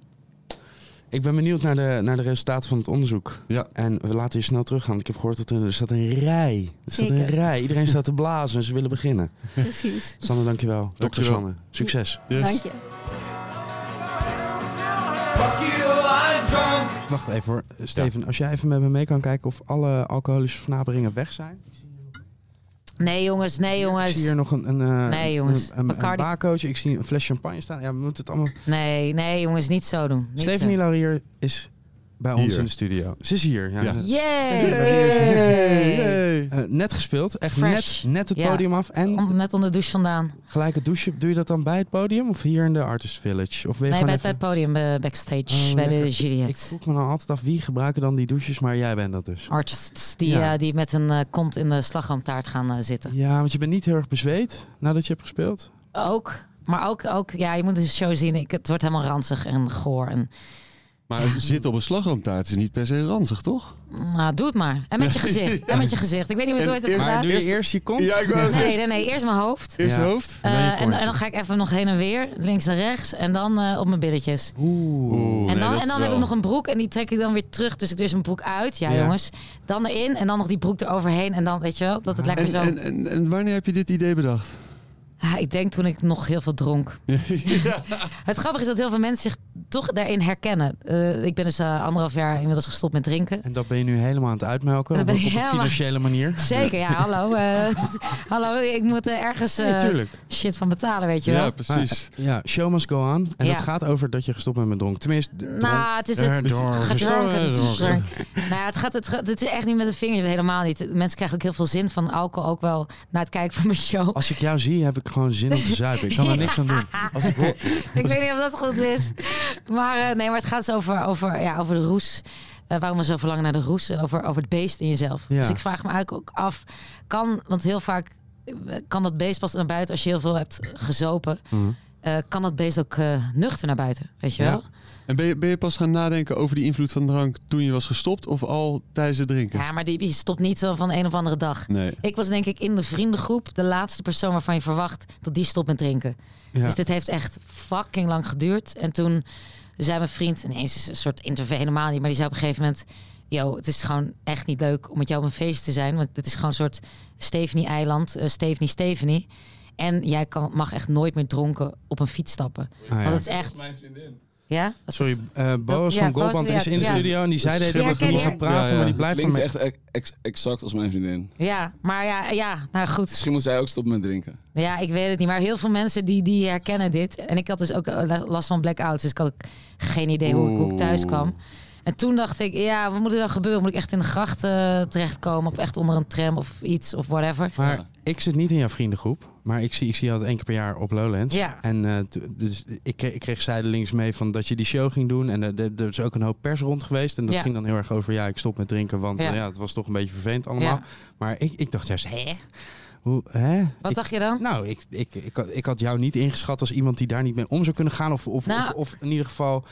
Speaker 1: Ik ben benieuwd naar de, naar de resultaten van het onderzoek. Ja. En we laten hier snel teruggaan. want Ik heb gehoord dat er, er staat een rij. Er staat een
Speaker 5: Zeker.
Speaker 1: rij. Iedereen staat te blazen en ze willen beginnen.
Speaker 5: Precies.
Speaker 1: Sanne, dankjewel. Dokter
Speaker 2: Dankjewel.
Speaker 1: Sanne, succes.
Speaker 5: Dank je.
Speaker 8: Fuck you, I'm drunk.
Speaker 1: Wacht even hoor. Steven, als jij even met me mee kan kijken of alle alcoholische versnaperingen weg zijn.
Speaker 28: Nee, jongens, nee,
Speaker 1: Ik
Speaker 28: jongens.
Speaker 1: zie hier nog een, een, eh,
Speaker 28: Nee, jongens.
Speaker 1: een, een, een
Speaker 28: Bacardi-
Speaker 1: baarcootje. Ik zie een fles champagne staan. Ja, we moeten het allemaal...
Speaker 28: Nee, nee, jongens, niet zo doen. Niet
Speaker 1: Stephanie
Speaker 28: zo.
Speaker 1: Laurier is bij ons
Speaker 2: Hier.
Speaker 1: in de studio. Ze is hier. Ja.
Speaker 2: Ja.
Speaker 1: Ze-
Speaker 28: Yay!
Speaker 1: Ze-
Speaker 28: Yay!
Speaker 1: Eh, net gespeeld. Echt
Speaker 28: Fresh.
Speaker 1: net, net het
Speaker 28: Ja.
Speaker 1: podium af. En
Speaker 28: Komt net onder de douche vandaan.
Speaker 1: gelijk het douchen. Doe je dat dan bij het podium of hier in de Artist Village? Of ben je
Speaker 28: Nee, bij,
Speaker 1: gewoon
Speaker 28: het- bij het podium eh, backstage,
Speaker 1: Oh,
Speaker 28: bij
Speaker 1: lekker.
Speaker 28: de Juliette. Oh.
Speaker 1: Ik vroeg me dan altijd af wie gebruiken dan die douches, maar jij bent dat dus.
Speaker 28: Artists die,
Speaker 1: Ja.
Speaker 28: eh, die met een eh, kont in de slagroomtaart gaan eh, zitten.
Speaker 1: Ja, want je bent niet heel erg bezweet nadat je hebt gespeeld.
Speaker 28: Ook, maar ook, ook, ja, je moet de show zien. Ik, het wordt helemaal ranzig en goor. En,
Speaker 2: Maar zitten op een slagroomtaart is niet per se ranzig, toch?
Speaker 28: nou, doe het maar. En met je gezicht. En met je gezicht. Ik weet niet hoe
Speaker 2: En
Speaker 28: je het
Speaker 2: eerst-
Speaker 28: gedaan.
Speaker 2: Maar doe je eerst
Speaker 1: je kont?
Speaker 2: Ja, ik wou-
Speaker 28: Nee, nee, nee. Eerst mijn hoofd.
Speaker 2: Eerst je Ja. hoofd.
Speaker 28: Eh,
Speaker 2: En dan je
Speaker 28: en,
Speaker 2: kontje.
Speaker 28: en dan ga ik even nog heen en weer. Links en rechts. En dan eh, op mijn billetjes.
Speaker 2: Oeh,
Speaker 28: en dan,
Speaker 2: nee, dat
Speaker 28: en dan
Speaker 2: is
Speaker 28: heb ik
Speaker 2: wel-
Speaker 28: nog een broek en die trek ik dan weer terug. Dus ik doe eens mijn broek uit. Ja,
Speaker 2: Ja.
Speaker 28: jongens. Dan erin en dan nog die broek eroverheen. En dan, weet je wel, dat het lekker
Speaker 2: En,
Speaker 28: zo...
Speaker 2: en, en, en wanneer heb je dit idee bedacht?
Speaker 28: Ah, ik denk toen ik nog heel veel dronk.
Speaker 2: Mhm.
Speaker 28: Het grappige is dat heel veel mensen zich toch daarin herkennen. Eh, ik ben dus eh, anderhalf jaar inmiddels gestopt met drinken.
Speaker 1: En dat ben je nu helemaal aan het uitmelken.
Speaker 28: Dat
Speaker 1: op
Speaker 28: ben
Speaker 1: een
Speaker 28: ik
Speaker 1: op een
Speaker 28: helemaal-
Speaker 1: financiële manier.
Speaker 28: Zeker, ja, hallo. eh, hallo, ik moet eh, ergens eh,
Speaker 1: Nee, tuurlijk.
Speaker 28: shit van betalen, weet je wel.
Speaker 1: Maar, Ah, ja, show must go on. En
Speaker 28: Ja.
Speaker 1: het gaat over dat je gestopt bent met dronken. Tenminste, d-
Speaker 28: Nou, het is
Speaker 1: dronk-
Speaker 28: het
Speaker 1: eh, dronken.
Speaker 28: gedronken. het is
Speaker 1: Dronken.
Speaker 28: gedronken. Nou, het, gaat, het, gaat- het is echt niet met een vinger, helemaal niet. Mensen krijgen ook heel veel zin van alcohol, ook wel na het kijken van mijn show.
Speaker 1: Als ik jou zie, heb ik gewoon zin om te zuipen. Ik kan er niks aan doen. Als ik hoor-
Speaker 28: Ik weet niet of dat goed is. Maar eh, nee, maar het gaat dus over, over, ja, over de roes. Eh, waarom we zo verlangen naar de roes en over, over het beest in jezelf.
Speaker 20: Ja.
Speaker 28: Dus ik vraag me eigenlijk ook af, kan, want heel vaak eh, kan dat beest pas naar buiten als je heel veel hebt gezopen. Eh, kan dat beest ook eh, nuchter naar buiten, weet je wel?
Speaker 2: En ben je, ben je pas gaan nadenken over die invloed van drank toen je was gestopt of al tijdens het drinken?
Speaker 28: Ja, maar die, die stopt niet zo van de een of andere dag.
Speaker 2: Nee.
Speaker 28: Ik was denk ik in de vriendengroep de laatste persoon waarvan je verwacht dat die stopt met drinken.
Speaker 2: Ja.
Speaker 28: Dus dit heeft echt fucking lang geduurd. En toen zei mijn vriend, ineens een soort interview helemaal niet, maar die zei op een gegeven moment... Yo, het is gewoon echt niet leuk om met jou op een feest te zijn. Want dit is gewoon een soort Stephanie-eiland, eh, Stephanie, Stephanie. En jij kan, mag echt nooit meer dronken op een fiets stappen.
Speaker 1: ja.
Speaker 28: Want het is echt... Ja?
Speaker 1: Sorry, eh
Speaker 28: Dat-
Speaker 1: Boas
Speaker 28: ja,
Speaker 1: van
Speaker 28: Boas,
Speaker 1: Goldband is
Speaker 28: ja,
Speaker 1: in de
Speaker 28: ja.
Speaker 1: studio en die zei dat
Speaker 28: Ja,
Speaker 1: hij
Speaker 28: ken
Speaker 1: niet
Speaker 28: je.
Speaker 1: gaat praten, maar die blijft van
Speaker 15: Klinkt
Speaker 1: mij.
Speaker 15: echt ex- exact als mijn vriendin.
Speaker 28: Ja, maar ja, ja, nou goed.
Speaker 15: Misschien moet zij ook stoppen met drinken.
Speaker 28: Nou Ja, ik weet het niet. Maar heel veel mensen die, die herkennen dit. En ik had dus ook eh, last van blackouts. Dus ik had ook geen idee hoe ik, hoe ik thuis kwam. En toen dacht ik, ja, wat moet er dan gebeuren? Moet ik echt in de grachten eh, terechtkomen? Of echt onder een tram of iets of whatever?
Speaker 1: Maar ik zit niet in jouw vriendengroep, maar ik zie, ik zie je altijd één keer per jaar op Lowlands.
Speaker 28: Ja.
Speaker 1: En eh, t- dus ik, kreeg- ik kreeg zijdelings mee van dat je die show ging doen. En eh, de- er is ook een hoop pers rond geweest. En dat
Speaker 28: Ja.
Speaker 1: ging dan heel erg over, ja, ik stop met drinken, want eh,
Speaker 28: Ja.
Speaker 1: ja. het was toch een beetje vervelend allemaal.
Speaker 28: Ja.
Speaker 1: Maar ik, ik dacht juist, hè? Hoe, hè?
Speaker 28: Wat
Speaker 1: Ik-
Speaker 28: dacht je dan?
Speaker 1: Nou, ik, ik, ik, had- ik had jou niet ingeschat als iemand die daar niet mee om zou kunnen gaan. Of, of,
Speaker 28: Nou.
Speaker 1: of, of in ieder geval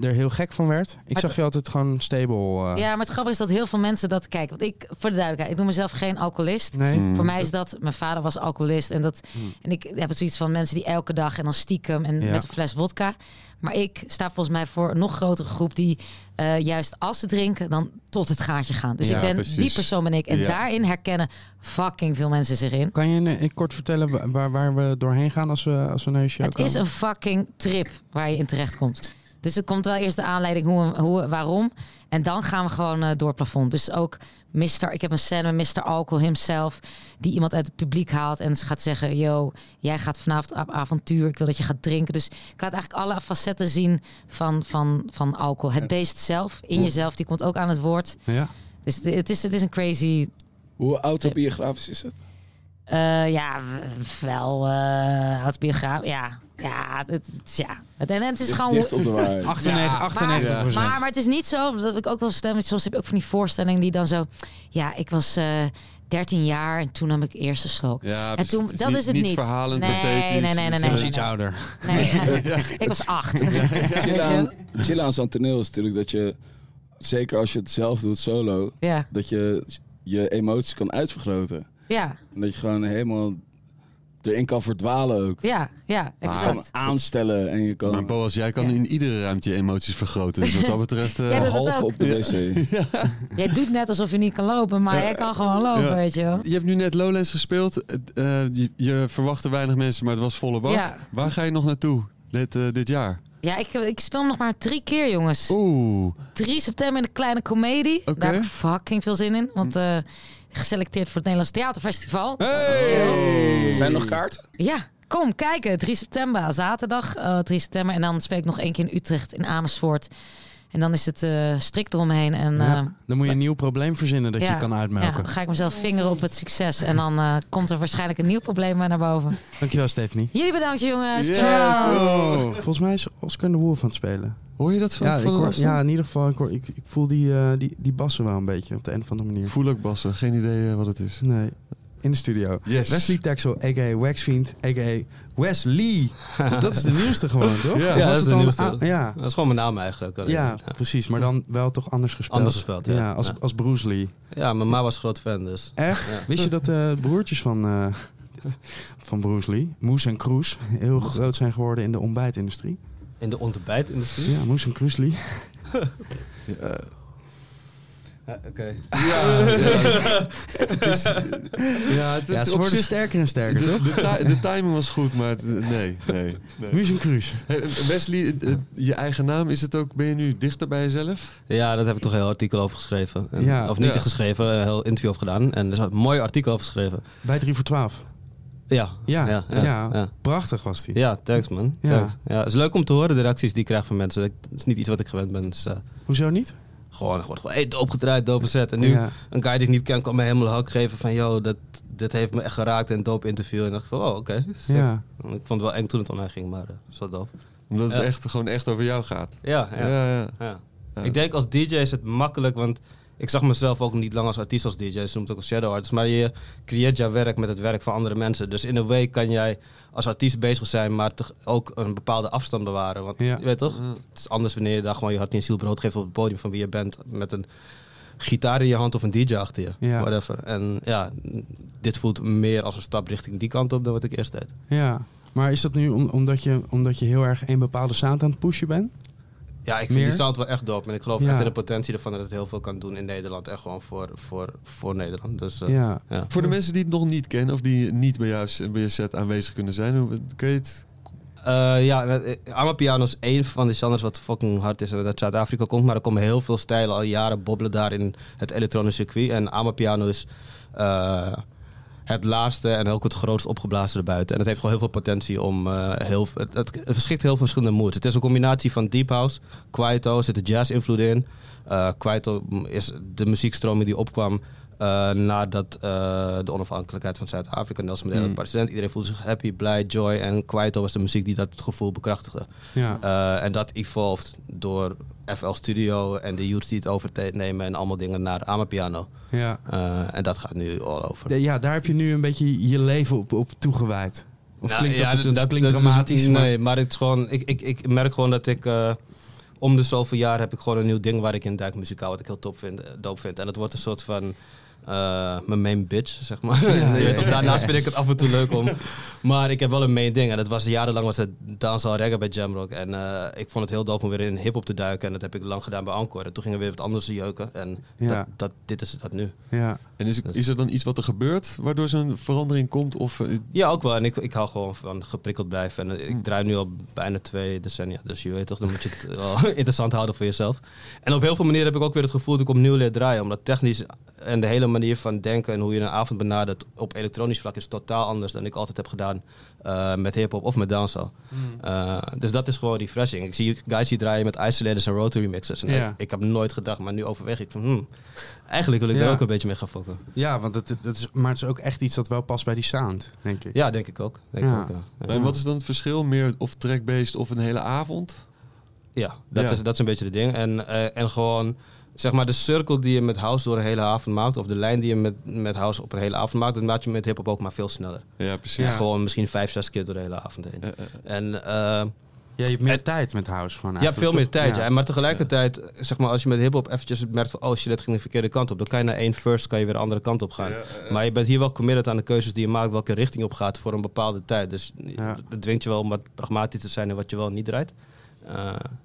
Speaker 1: er heel gek van werd. Ik zag je altijd gewoon stable. eh.
Speaker 28: Ja, maar het grappige is dat heel veel mensen dat kijken. Want ik, voor de duidelijkheid, ik noem mezelf geen alcoholist.
Speaker 1: Nee. Hmm.
Speaker 28: Voor mij is dat, mijn vader was alcoholist. En, dat, en ik heb het zoiets van mensen die elke dag en dan stiekem en
Speaker 20: Ja.
Speaker 28: met een fles wodka. Maar ik sta volgens mij voor een nog grotere groep die eh, juist als ze drinken, dan tot het gaatje gaan. Dus
Speaker 1: Ja,
Speaker 28: ik ben,
Speaker 1: precies.
Speaker 28: die persoon ben ik. En
Speaker 1: Ja.
Speaker 28: daarin herkennen fucking veel mensen zich in.
Speaker 1: Kan je een, een kort vertellen wa- waar, waar we doorheen gaan als we, als we naar je show
Speaker 28: Het
Speaker 1: komen?
Speaker 28: is een fucking trip waar je in terecht komt.
Speaker 6: Dus het komt wel eerst de aanleiding hoe, hoe, waarom. En dan gaan we gewoon eh, door het plafond. Dus ook Mr. Ik heb een scène met Mr. Alcohol himself. Die iemand uit het publiek haalt en gaat zeggen: Yo, jij gaat vanavond op avontuur. Ik wil dat je gaat drinken. Dus ik laat eigenlijk alle facetten zien van, van, van alcohol. Het beest zelf, in jezelf, die komt ook aan het woord.
Speaker 15: Ja.
Speaker 6: Dus het, het is, het is een crazy.
Speaker 15: Hoe autobiografisch is het?
Speaker 6: eh, ja, w- wel. eh autobiograaf. Ja, ja, het, het- ja. Het, en het is
Speaker 15: Dicht-
Speaker 6: gewoon.
Speaker 15: dicht op de waarheid. 98
Speaker 6: Ja, maar-
Speaker 15: 98%.
Speaker 6: Maar, maar het is niet zo. Dat heb ik ook wel stem. Soms heb ik ook van die voorstellingen die dan zo. Ja, ik was. eh 13 jaar en toen nam ik eerste slok.
Speaker 2: Ja,
Speaker 6: en
Speaker 2: precies.
Speaker 6: toen,
Speaker 2: Het is
Speaker 6: dat
Speaker 2: niet-
Speaker 6: is het
Speaker 2: niet
Speaker 6: niet.
Speaker 2: verhalend,
Speaker 6: nee, nee,
Speaker 2: pathetisch.
Speaker 6: nee, nee, nee,
Speaker 2: Het is
Speaker 6: nee.
Speaker 2: iets
Speaker 6: nee.
Speaker 2: ouder.
Speaker 6: Nee, ik was acht. Dus,
Speaker 15: Chill aan, chill aan zo'n toneel is natuurlijk dat je, zeker als je het zelf doet solo,
Speaker 6: Ja.
Speaker 15: dat je je emoties kan uitvergroten.
Speaker 6: eh, Ja,
Speaker 15: En dat je gewoon helemaal erin kan verdwalen ook.
Speaker 6: ja, ja,
Speaker 2: Ah.
Speaker 15: Maar
Speaker 6: exact.
Speaker 15: gewoon aanstellen en je kan...
Speaker 2: Maar Boas, jij kan in iedere ruimte je emoties vergroten. Dus wat dat betreft... eh,
Speaker 6: Ja, dat- dat Behalve ook. op de
Speaker 15: wc.
Speaker 6: Jij doet net alsof je niet kan lopen, maar
Speaker 2: Ja.
Speaker 6: jij kan gewoon lopen,
Speaker 2: Ja.
Speaker 6: Oh, weet je wel.
Speaker 2: Je hebt nu net Lowlands gespeeld. Het, eh, je, je verwachtte weinig mensen, maar het was volle bak.
Speaker 6: Ja.
Speaker 2: Waar ga je nog naartoe dit, eh, dit jaar?
Speaker 6: Ja, ik, ik speel hem nog maar drie keer, jongens.
Speaker 2: Oeh.
Speaker 6: 3 september in de Kleine Comedie. Daar heb ik fucking veel zin in. Want eh, geselecteerd voor het Nederlands Theaterfestival.
Speaker 15: Zijn er nog kaarten?
Speaker 6: Ja, kom kijken. 3 september, zaterdag eh, 3 september. En dan speel ik nog één keer in Utrecht, in Amersfoort. En dan is het eh strikt eromheen. En, eh,
Speaker 1: Ja, dan moet je een nieuw probleem verzinnen dat
Speaker 6: ja,
Speaker 1: je kan
Speaker 6: ja,
Speaker 1: uitmelken.
Speaker 6: dan ga ik mezelf vingeren op het succes. En dan eh, komt er waarschijnlijk een nieuw probleem naar boven.
Speaker 1: Dankjewel, Stephanie.
Speaker 6: Jullie bedankt,
Speaker 28: Eh,
Speaker 6: jongens.
Speaker 1: Yes.
Speaker 6: Ciao.
Speaker 1: Oh. Volgens mij is Oscar de Wolf aan het spelen.
Speaker 2: Hoor je dat zo
Speaker 1: Ja,
Speaker 2: van
Speaker 1: ik hoor-
Speaker 2: afstand?
Speaker 1: ja in ieder geval. Ik, hoor- ik, ik voel die, eh, die, die bassen wel een beetje op de een of andere manier.
Speaker 2: Voel ook bassen. Geen idee eh, wat het is.
Speaker 1: Nee. In de studio.
Speaker 2: Yes.
Speaker 1: Wesley Texel, a.k.a. Waxfiend, a.k.a. Wesley. Want dat is de nieuwste gewoon, toch?
Speaker 6: Ja,
Speaker 1: Of was
Speaker 6: dat is
Speaker 1: het
Speaker 6: de
Speaker 1: dan-
Speaker 6: nieuwste.
Speaker 1: ah, ja.
Speaker 6: Dat is gewoon mijn naam eigenlijk. Alleen.
Speaker 1: Ja, precies. Maar dan wel toch anders gespeeld.
Speaker 6: Anders gespeeld, ja.
Speaker 1: als,
Speaker 6: Ja.
Speaker 1: als Bruce Lee.
Speaker 6: Ja, mijn ma was groot fan, dus.
Speaker 1: Echt?
Speaker 6: Ja.
Speaker 1: Wist je dat de broertjes van, eh, van Bruce Lee, Moes en Kroes, heel groot zijn geworden in de ontbijtindustrie?
Speaker 6: In de ontbijtindustrie?
Speaker 1: Ja, Moes en Kroes Lee. Eh,
Speaker 6: Ja, Oké.
Speaker 2: Ja, ja. Het is- eh,
Speaker 1: Ja,
Speaker 2: het-
Speaker 1: ze
Speaker 2: op
Speaker 1: worden
Speaker 2: zich-
Speaker 1: sterker en sterker,
Speaker 2: de, De,
Speaker 1: toch?
Speaker 2: ti- de timing was goed, maar het, nee, nee, nee.
Speaker 1: Muus en Cruus.
Speaker 2: Hey, Wesley, eh, eh, je eigen naam, is het ook, ben je nu dichter bij jezelf?
Speaker 6: Ja, daar heb ik toch een heel artikel over geschreven. En-
Speaker 1: Ja.
Speaker 6: Of niet
Speaker 1: Ja.
Speaker 6: geschreven, een heel interview over gedaan. En er is een mooi artikel over geschreven.
Speaker 1: Bij 3 voor 12.
Speaker 6: Ja.
Speaker 1: Ja,
Speaker 6: ja, ja,
Speaker 1: ja.
Speaker 6: ja.
Speaker 1: prachtig was die.
Speaker 6: Ja, thanks man.
Speaker 1: Ja.
Speaker 6: Thanks. Ja, het is leuk om te horen, de reacties die ik krijg van mensen. Ik- Het is niet iets wat ik gewend ben. Dus, eh,
Speaker 1: Hoezo niet?
Speaker 6: gewoon, gewoon, gewoon hey, doop gedraaid, doop gezet. En nu,
Speaker 1: Ja.
Speaker 6: een guy die ik niet ken, kan me helemaal hak geven van... ...yo, dat, dit heeft me echt geraakt en doop interview. En dacht ik van, oh, oké. sick.
Speaker 1: Ja.
Speaker 6: Ik vond het wel eng toen het om mij ging, maar eh, is wel doop.
Speaker 2: Omdat het
Speaker 6: Ja.
Speaker 2: echt, gewoon echt over jou gaat.
Speaker 6: Ja, ja.
Speaker 2: ja, ja.
Speaker 6: Ja.
Speaker 2: Ja.
Speaker 6: Ik denk als DJ is het makkelijk, want ik zag mezelf ook niet lang als artiest als DJ. Ze noemt het ook als shadow artist. Maar je creëert jouw werk met het werk van andere mensen. Dus in een week kan jij als artiest bezig zijn, maar toch ook een bepaalde afstand bewaren. Want
Speaker 1: Ja.
Speaker 6: je weet toch, het is anders wanneer je daar gewoon je hart en je ziel brood geeft op het podium van wie je bent. Met een gitaar in je hand of een DJ achter je.
Speaker 1: Ja.
Speaker 6: Whatever. En ja, dit voelt meer als een stap richting die kant op dan wat ik eerst deed.
Speaker 1: Ja, maar is dat nu om- omdat, je, omdat je heel erg één bepaalde sound aan het pushen bent?
Speaker 6: Ja, ik vind
Speaker 1: Meer?
Speaker 6: die sound wel echt dope. En ik geloof
Speaker 1: Ja.
Speaker 6: echt in de potentie ervan dat het heel veel kan doen in Nederland. En gewoon voor, voor, voor Nederland. Dus, eh,
Speaker 1: Ja.
Speaker 2: Voor de mensen die het nog niet kennen of die niet bij jou bij je set aanwezig kunnen zijn, hoe kun je het?
Speaker 6: Eh, ja, Amapiano is één van de genres wat fucking hard is en dat uit Zuid-Afrika komt. Maar er komen heel veel stijlen al jaren bobbelen daar in het elektronische circuit. En Amapiano is eh, het laatste en ook het grootst opgeblazen erbuiten. En het heeft gewoon heel veel potentie om eh, heel... Het, het, het verschikt heel veel verschillende moods. Het is een combinatie van deep house, kwaito, er zitten jazz invloeden in. Eh kwaito is de muziekstroming die opkwam eh, nadat eh, de onafhankelijkheid van Zuid-Afrika, Nelson Mandela,
Speaker 2: Mm.
Speaker 6: president. Iedereen voelde zich happy, blij, joy. En Kwaito was de muziek die dat gevoel bekrachtigde.
Speaker 1: Ja.
Speaker 6: Eh, en dat evolved door FL Studio en de youths die het overnemen en allemaal dingen naar Amapiano.
Speaker 1: Ja.
Speaker 6: Eh, en dat gaat nu all over.
Speaker 1: De- ja, daar heb je nu een beetje je leven op, op toegewijd. Of
Speaker 6: Nou,
Speaker 1: klinkt dat,
Speaker 6: ja,
Speaker 1: dat, klinkt
Speaker 6: is-
Speaker 1: dramatisch? maar-
Speaker 6: nee, maar het is gewoon, ik, ik, ik merk gewoon dat ik eh, om de zoveel jaar heb ik gewoon een nieuw ding waar ik in duik muzikaal, wat ik heel top vind, eh, dope vind. En dat wordt een soort van eh, mijn main bitch, zeg maar.
Speaker 1: Ja,
Speaker 6: Je weet
Speaker 1: ja,
Speaker 6: toch,
Speaker 1: ja,
Speaker 6: daarnaast
Speaker 1: ja.
Speaker 6: vind ik het af en toe leuk om. Maar ik heb wel een main ding. En dat was jarenlang was het dancehall reggae bij Jamrock. En eh, ik vond het heel dope om weer in hip-hop te duiken. En dat heb ik lang gedaan bij Encore. En toen gingen we weer wat anders jeuken. En
Speaker 2: Ja.
Speaker 6: dat, dat, dit is dat nu.
Speaker 2: Ja. En is, is er dan iets wat er gebeurt waardoor zo'n verandering komt? Of, eh,
Speaker 6: Ja, ook wel. En ik, ik hou gewoon van geprikkeld blijven. En eh,
Speaker 1: Hm.
Speaker 6: ik draai nu al bijna twee decennia. Dus je weet toch, dan moet je het wel interessant houden voor jezelf. En op heel veel manieren heb ik ook weer het gevoel dat ik opnieuw leer draaien. Omdat technisch en de hele manier van denken en hoe je een avond benadert op elektronisch vlak is totaal anders dan ik altijd heb gedaan eh, met hip-hop of met dancehall.
Speaker 1: Mm.
Speaker 6: Eh, dus dat is gewoon refreshing. Ik zie guys die draaien met isolators en rotary mixers. En
Speaker 1: Ja.
Speaker 6: ik, ik heb nooit gedacht, maar nu overweeg ik van hmm, eigenlijk wil ik
Speaker 1: Ja.
Speaker 6: er ook een beetje mee gaan fokken.
Speaker 1: Ja, want het, het, het is, maar het is ook echt iets dat wel past bij die sound, denk ik.
Speaker 6: Ja, denk ik ook. Denk ik ook, ja. Ja.
Speaker 2: En wat is dan het verschil? Meer of track-based of een hele avond?
Speaker 6: Ja, dat,
Speaker 2: Ja.
Speaker 6: Is, dat is een beetje de ding. En, eh, en gewoon, zeg maar, de cirkel die je met house door een hele avond maakt, of de lijn die je met, met house op een hele avond maakt, dat maak je met hip-hop ook maar veel sneller.
Speaker 2: Ja, precies. Eh,
Speaker 6: En
Speaker 2: Ja.
Speaker 6: Gewoon misschien vijf, zes keer door de hele avond heen. En,
Speaker 1: ja, je hebt meer tijd met house gewoon.
Speaker 6: Je hebt veel meer tijd, ja.
Speaker 1: Ja.
Speaker 6: Maar tegelijkertijd, zeg maar, als je met hip-hop eventjes merkt van, oh shit, dit ging de verkeerde kant op. Dan kan je naar één first, kan je weer de andere kant op gaan. Maar je bent hier wel committed aan de keuzes die je maakt, welke richting je op gaat voor een bepaalde tijd. Dus het dwingt je wel om wat pragmatisch te zijn en wat je wel niet draait. Eh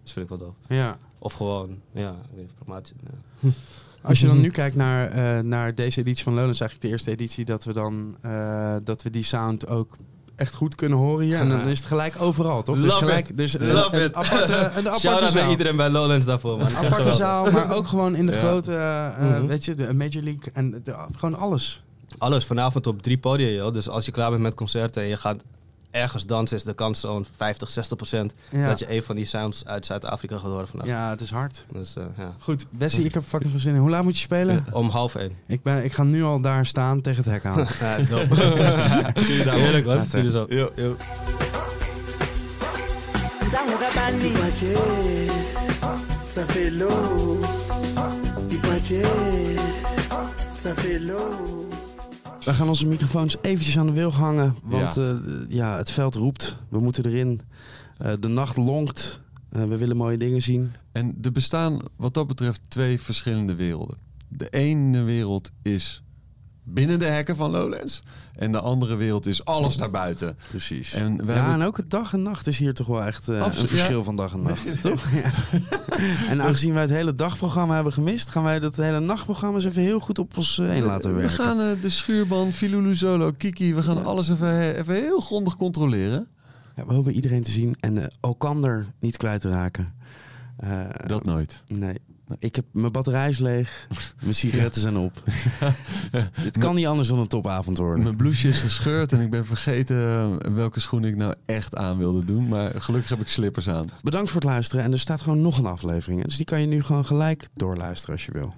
Speaker 6: dat vind ik wel dope.
Speaker 1: Ja. Hm.
Speaker 6: Of gewoon, ja, ik weet niet, pragmatisch. ja.
Speaker 1: Als je dan nu kijkt naar, eh, naar deze editie van Lowlands, eigenlijk de eerste editie, dat we dan eh, dat we die sound ook echt goed kunnen horen hier. En dan is het gelijk overal, toch? dus
Speaker 6: Love
Speaker 1: gelijk,
Speaker 6: it.
Speaker 1: Dus, eh,
Speaker 6: Love
Speaker 1: een
Speaker 6: it.
Speaker 1: Aparte, een aparte
Speaker 6: Shout-out
Speaker 1: zaal.
Speaker 6: naar iedereen bij Lowlands daarvoor, man.
Speaker 1: Een aparte zaal, maar ook gewoon in de
Speaker 6: Ja.
Speaker 1: grote, eh,
Speaker 6: Mhm.
Speaker 1: weet je, de Major League en de- gewoon alles.
Speaker 6: Alles, vanavond op drie podia, joh. Dus als je klaar bent met concerten en je gaat ergens dansen, is de kans zo'n 50, 60 procent
Speaker 1: Ja.
Speaker 6: dat je een van die sounds uit Zuid-Afrika gaat horen vanavond.
Speaker 1: Ja, het is hard.
Speaker 6: Dus, eh, ja.
Speaker 1: Goed, Bessie, ik heb fucking veel zin in. Hoe laat moet je spelen?
Speaker 6: Eh, Om half één.
Speaker 1: Ik, ben, ik ga nu al daar staan tegen het hek aan.
Speaker 6: Ja, dope. Zie je daar, man. Heerlijk, man. Zie je zo. Yo, yo.
Speaker 7: Ipache, ça fait l'eau. Ipache, ça fait l'eau.
Speaker 1: We gaan onze microfoons eventjes aan de wilg hangen. Want
Speaker 2: Ja.
Speaker 1: ja. ja, het veld roept. We moeten erin. Eh, de nacht lonkt. Eh, we willen mooie dingen zien.
Speaker 2: En er bestaan wat dat betreft twee verschillende werelden. De ene wereld is binnen de hekken van Lowlands. En de andere wereld is alles daarbuiten.
Speaker 1: Precies.
Speaker 2: En we
Speaker 1: ja,
Speaker 2: hebben
Speaker 1: en ook het dag en nacht is hier toch wel echt eh,
Speaker 2: Absoluut,
Speaker 1: een verschil
Speaker 2: ja.
Speaker 1: van dag en nacht, toch? Ja. En aangezien wij het hele dagprogramma hebben gemist, gaan wij dat hele nachtprogramma eens even heel goed op ons eh, heen laten
Speaker 2: We
Speaker 1: werken.
Speaker 2: gaan eh, de schuurban, Filulu Solo, Kiki, we gaan alles even, even heel grondig controleren.
Speaker 1: Ja, we hopen iedereen te zien en eh, elkander niet kwijt te raken. Eh,
Speaker 2: Dat nooit.
Speaker 1: Nee. Ik heb, mijn batterij is leeg, mijn sigaretten zijn op. Het kan niet anders dan een topavond worden.
Speaker 2: Mijn bloesje is gescheurd en ik ben vergeten eh, welke schoen ik nou echt aan wilde doen. Maar gelukkig heb ik slippers aan.
Speaker 1: Bedankt voor het luisteren en er staat gewoon nog een aflevering. hè. Dus die kan je nu gewoon gelijk doorluisteren als je wil.